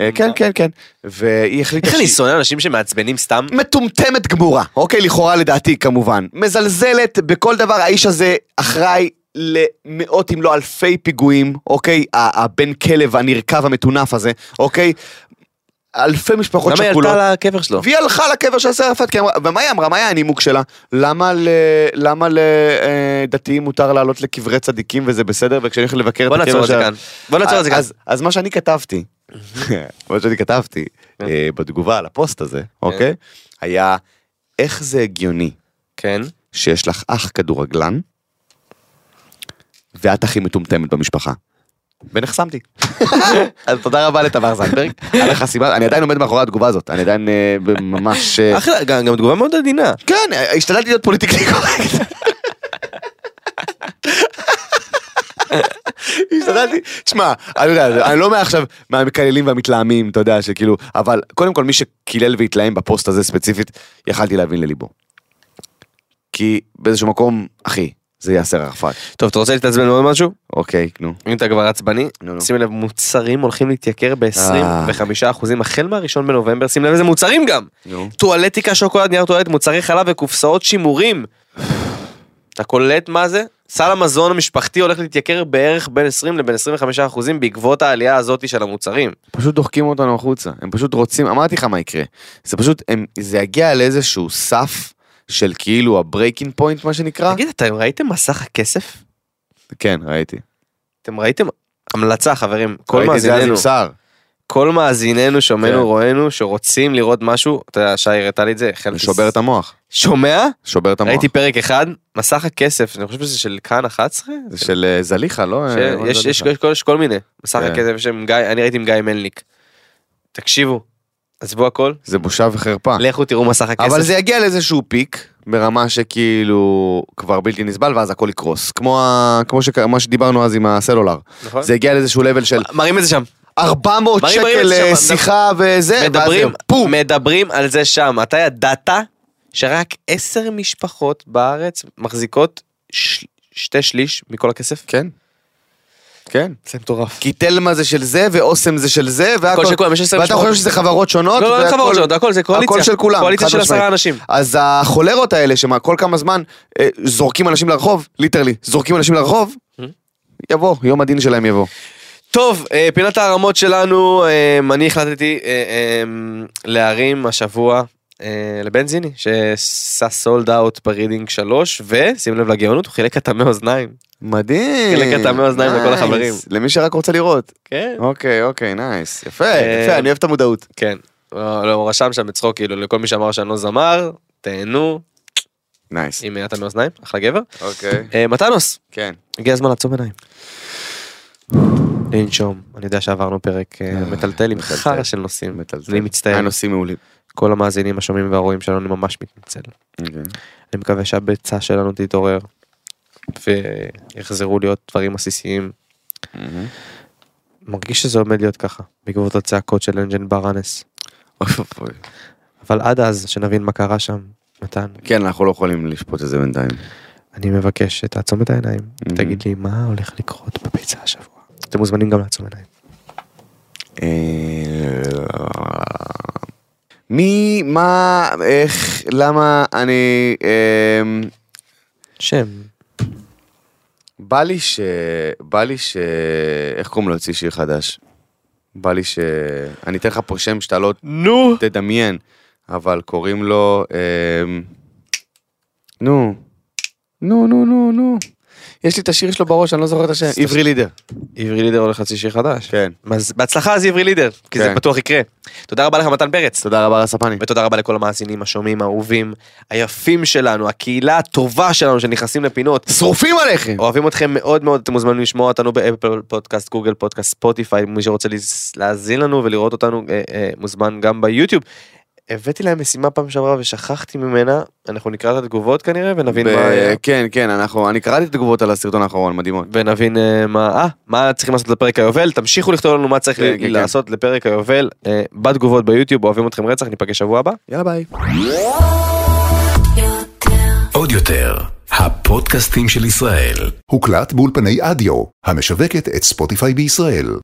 C: אה, כן, כן, כן. והיא החליטה
B: איך אני
C: שהיא-
B: שונא אנשים שמעצבנים סתם?
C: מטומטמת גמורה, אוקיי? לכאורה לדעתי כמובן. מזלזלת בכל דבר, האיש הזה אחראי למאות אם לא אלפי פיגועים, אוקיי? ה- הבן כלב הנרקב המטונף הזה, אוקיי? אלפי משפחות
B: למה היא
C: שכולות.
B: עלתה לקבר שלו?
C: והיא הלכה לקבר של יאסר ערפאת, כי היא אמרה- ומה היא אמרה? מה היה הנימוק שלה? למה ל- למה לדתיים מותר לעלות לקברי צדיקים וזה בסדר, וכשאני הולך לבקר
B: בוא
C: את
B: נעצור
C: הקבר
B: את זה
C: של...
B: כאן. בוא נעצור את זה כאן.
C: אז- אז מה שאני כתבתי, מה שאני כתבתי
B: כן.
C: אה, בתגובה על הפוסט הזה, אוקיי? היה, איך זה הגיוני
B: כן. [LAUGHS]
C: שיש לך אח כדורגלן, ואת הכי מטומטמת במשפחה? ונחסמתי. אז תודה רבה לתמר זנדברג על החסימה, אני עדיין עומד מאחורי התגובה הזאת, אני עדיין אה, ממש... אה,
B: אחלה, גם גם תגובה מאוד עדינה.
C: כן, השתדלתי להיות פוליטיקלי קורקט. השתדלתי, תשמע, אני יודע, אני לא מעכשיו מהמקללים והמתלהמים, אתה יודע, שכאילו, אבל קודם כל מי שקילל והתלהם בפוסט הזה ספציפית, יכלתי להבין לליבו. כי באיזשהו מקום, אחי, זה יאסר ערפאת.
B: טוב, אתה רוצה להתעצבן מאוד משהו?
C: אוקיי, נו.
B: אם אתה כבר עצבני,
C: נו, נו.
B: שים לב, מוצרים הולכים להתייקר
C: אה.
B: ב-25% החל מהראשון בנובמבר, שים לב איזה מוצרים גם!
C: נו.
B: טואלטיקה, שוקולד, נייר טואלט, מוצרי חלב וקופסאות שימורים. אתה קולט מה זה? סל המזון המשפחתי הולך להתייקר בערך בין 20 לבין 25 אחוזים בעקבות העלייה הזאת של המוצרים.
C: פשוט דוחקים אותנו החוצה, הם פשוט רוצים, אמרתי לך מה יקרה, זה פשוט, הם, זה יגיע לאיזשהו סף של כאילו הברייקינג פוינט מה שנקרא.
B: תגיד, אתם ראיתם מסך הכסף?
C: כן, ראיתי.
B: אתם ראיתם? המלצה חברים, כל
C: ראיתי את זה אז
B: מאזיננו,
C: עם שר.
B: כל מאזיננו,
C: כן.
B: שומענו, רואינו, שרוצים לראות משהו, אתה יודע, שי הראתה לי את זה,
C: זה
B: החלתי-
C: שובר את המוח.
B: שומע?
C: שובר את המוח.
B: ראיתי פרק אחד, מסך הכסף, אני חושב שזה של כאן 11?
C: זה של אה, זליכה, לא? אה,
B: ש-
C: לא
B: יש- יש
C: זליכה.
B: יש- יש כל מיני, מסך
C: כן.
B: הכסף, יש עם גיא, אני ראיתי עם גיא מלניק. תקשיבו, עזבו הכל,
C: זה בושה וחרפה.
B: לכו תראו מסך הכסף.
C: אה. אבל זה יגיע לאיזשהו פיק, ברמה שכאילו כבר בלתי נסבל, ואז הכל יקרוס. כמו ה- כמו שק- מה שדיברנו אז עם הסלולר.
B: נכון?
C: זה יגיע לאיזשהו לבל של
B: מראים את זה שם,
C: 400
B: מראים- מראים את
C: שקל
B: זה
C: אה,
B: שם,
C: שיחה וזה, [LAUGHS] ואז
B: מדברים,
C: זה פום.
B: מדברים על זה שם, אתה ידעת שרק עשר משפחות בארץ מחזיקות ש- שתי שליש מכל הכסף?
C: כן. כן.
B: זה מטורף.
C: כי תלמה זה של זה, ואוסם זה של זה, והכל...
B: הכל של כולם, יש עשרה
C: ואתה
B: משפחות.
C: חושב שזה חברות שונות?
B: לא, לא, אין
C: והכל-
B: חברות שונות, הכל, זה קואליציה.
C: הכל של כולם,
B: קואליציה
C: חד
B: של
C: משמעית.
B: עשרה אנשים.
C: אז החולרות האלה, שמה, כל כמה זמן אה, זורקים אנשים לרחוב, ליטרלי, זורקים אנשים לרחוב,
B: Mm-hmm.
C: יבוא, יום הדין שלהם יבוא.
B: טוב, אה, פינת הערמות שלנו, אה, אני החלטתי אה, אה, להרים השבוע אה, לבנזיני, שעשה סולד אאוט ברידינג 3, ושים לב לגאונות, הוא חילק את מאזניים.
C: מדהים.
B: חלק אתה מאוזניים לכל
C: נייס.
B: החברים.
C: למי שרק רוצה לראות.
B: כן.
C: אוקיי, אוקיי, נייס. יפה,
B: אה,
C: יפה, אני אוהב את המודעות.
B: כן. לא, לא, הוא רשם שם בצחוק, כאילו, לכל מי שאמר שאני לא זמר, תהנו,
C: נייס.
B: אם אתה מאזניים, אחלה גבר.
C: אוקיי,
B: אה, מתנוס,
C: כן.
B: הגיע הזמן לעצום עיניים. לנשום, אני יודע שעברנו פרק אה, מטלטל עם
C: מטלטל. כן. אה,
B: חרא של נושאים,
C: מטלטל.
B: אני מצטער,
C: היה נושאים מעולים.
B: כל המאזינים, השומעים והרואים שלנו, אני ממש מתנצל. אוקיי. אני מקווה שהביצה שלנו תתעורר ויחזרו להיות דברים עסיסיים. מרגיש שזה עומד להיות ככה בעקבות הצעקות של אנג'ן ברנס.
C: אוי ואבוי.
B: אבל עד אז שנבין מה קרה שם, מתן,
C: כן, אנחנו לא יכולים לשפוט את זה בינתיים.
B: אני מבקש שתעצום את העיניים ותגיד לי מה הולך לקרות בביצה השבוע. אתם מוזמנים גם לעצום עיניים.
C: אה, מי, מה, איך, למה אני... אמ,
B: שם.
C: בא לי ש... בא לי ש... איך קוראים לו? הוציא שיר חדש. בא לי ש... אני אתן לך פה שם שאתה לא
B: נו!
C: תדמיין, אבל קוראים לו... אמ, נו. נו, נו, נו, נו. יש לי את השיר שלו בראש, אני לא זוכר את השם. עברי לידר.
B: עברי לידר הולך להוציא שיר חדש.
C: כן.
B: אז בהצלחה אז עברי לידר, כי זה
C: כן.
B: בטוח יקרה. תודה רבה לך מתן פרץ.
C: תודה רבה לספני.
B: ותודה רבה לכל המאזינים, השומעים, האהובים, היפים שלנו, הקהילה הטובה שלנו שנכנסים לפינות.
C: שרופים עליכם!
B: אוהבים אתכם מאוד מאוד, אתם מוזמנים לשמוע אותנו באפל פודקאסט, גוגל פודקאסט, ספוטיפיי, מי שרוצה לז- להאזין לנו ולראות אותנו אה, אה, מוזמן גם ביוטיוב. הבאתי להם משימה פעם שעברה ושכחתי ממנה, אנחנו נקרא את התגובות כנראה ונבין מה... אה, היה.
C: ב- כן, כן, אנחנו... אני קראתי את התגובות על הסרטון האחרון, מדהימות.
B: ונבין אה, מה, אה, מה צריכים לעשות לפרק היובל, תמשיכו לכתוב לנו מה צריך
C: כן, כן,
B: לעשות לפרק היובל, אה, בתגובות ביוטיוב, אוהבים אתכם רצח, ניפגש שבוע הבא.
C: יאללה ביי.
A: עוד יותר, הפודקאסטים של ישראל.
E: הוקלט באולפני אדיו, המשווקת את ספוטיפיי בישראל.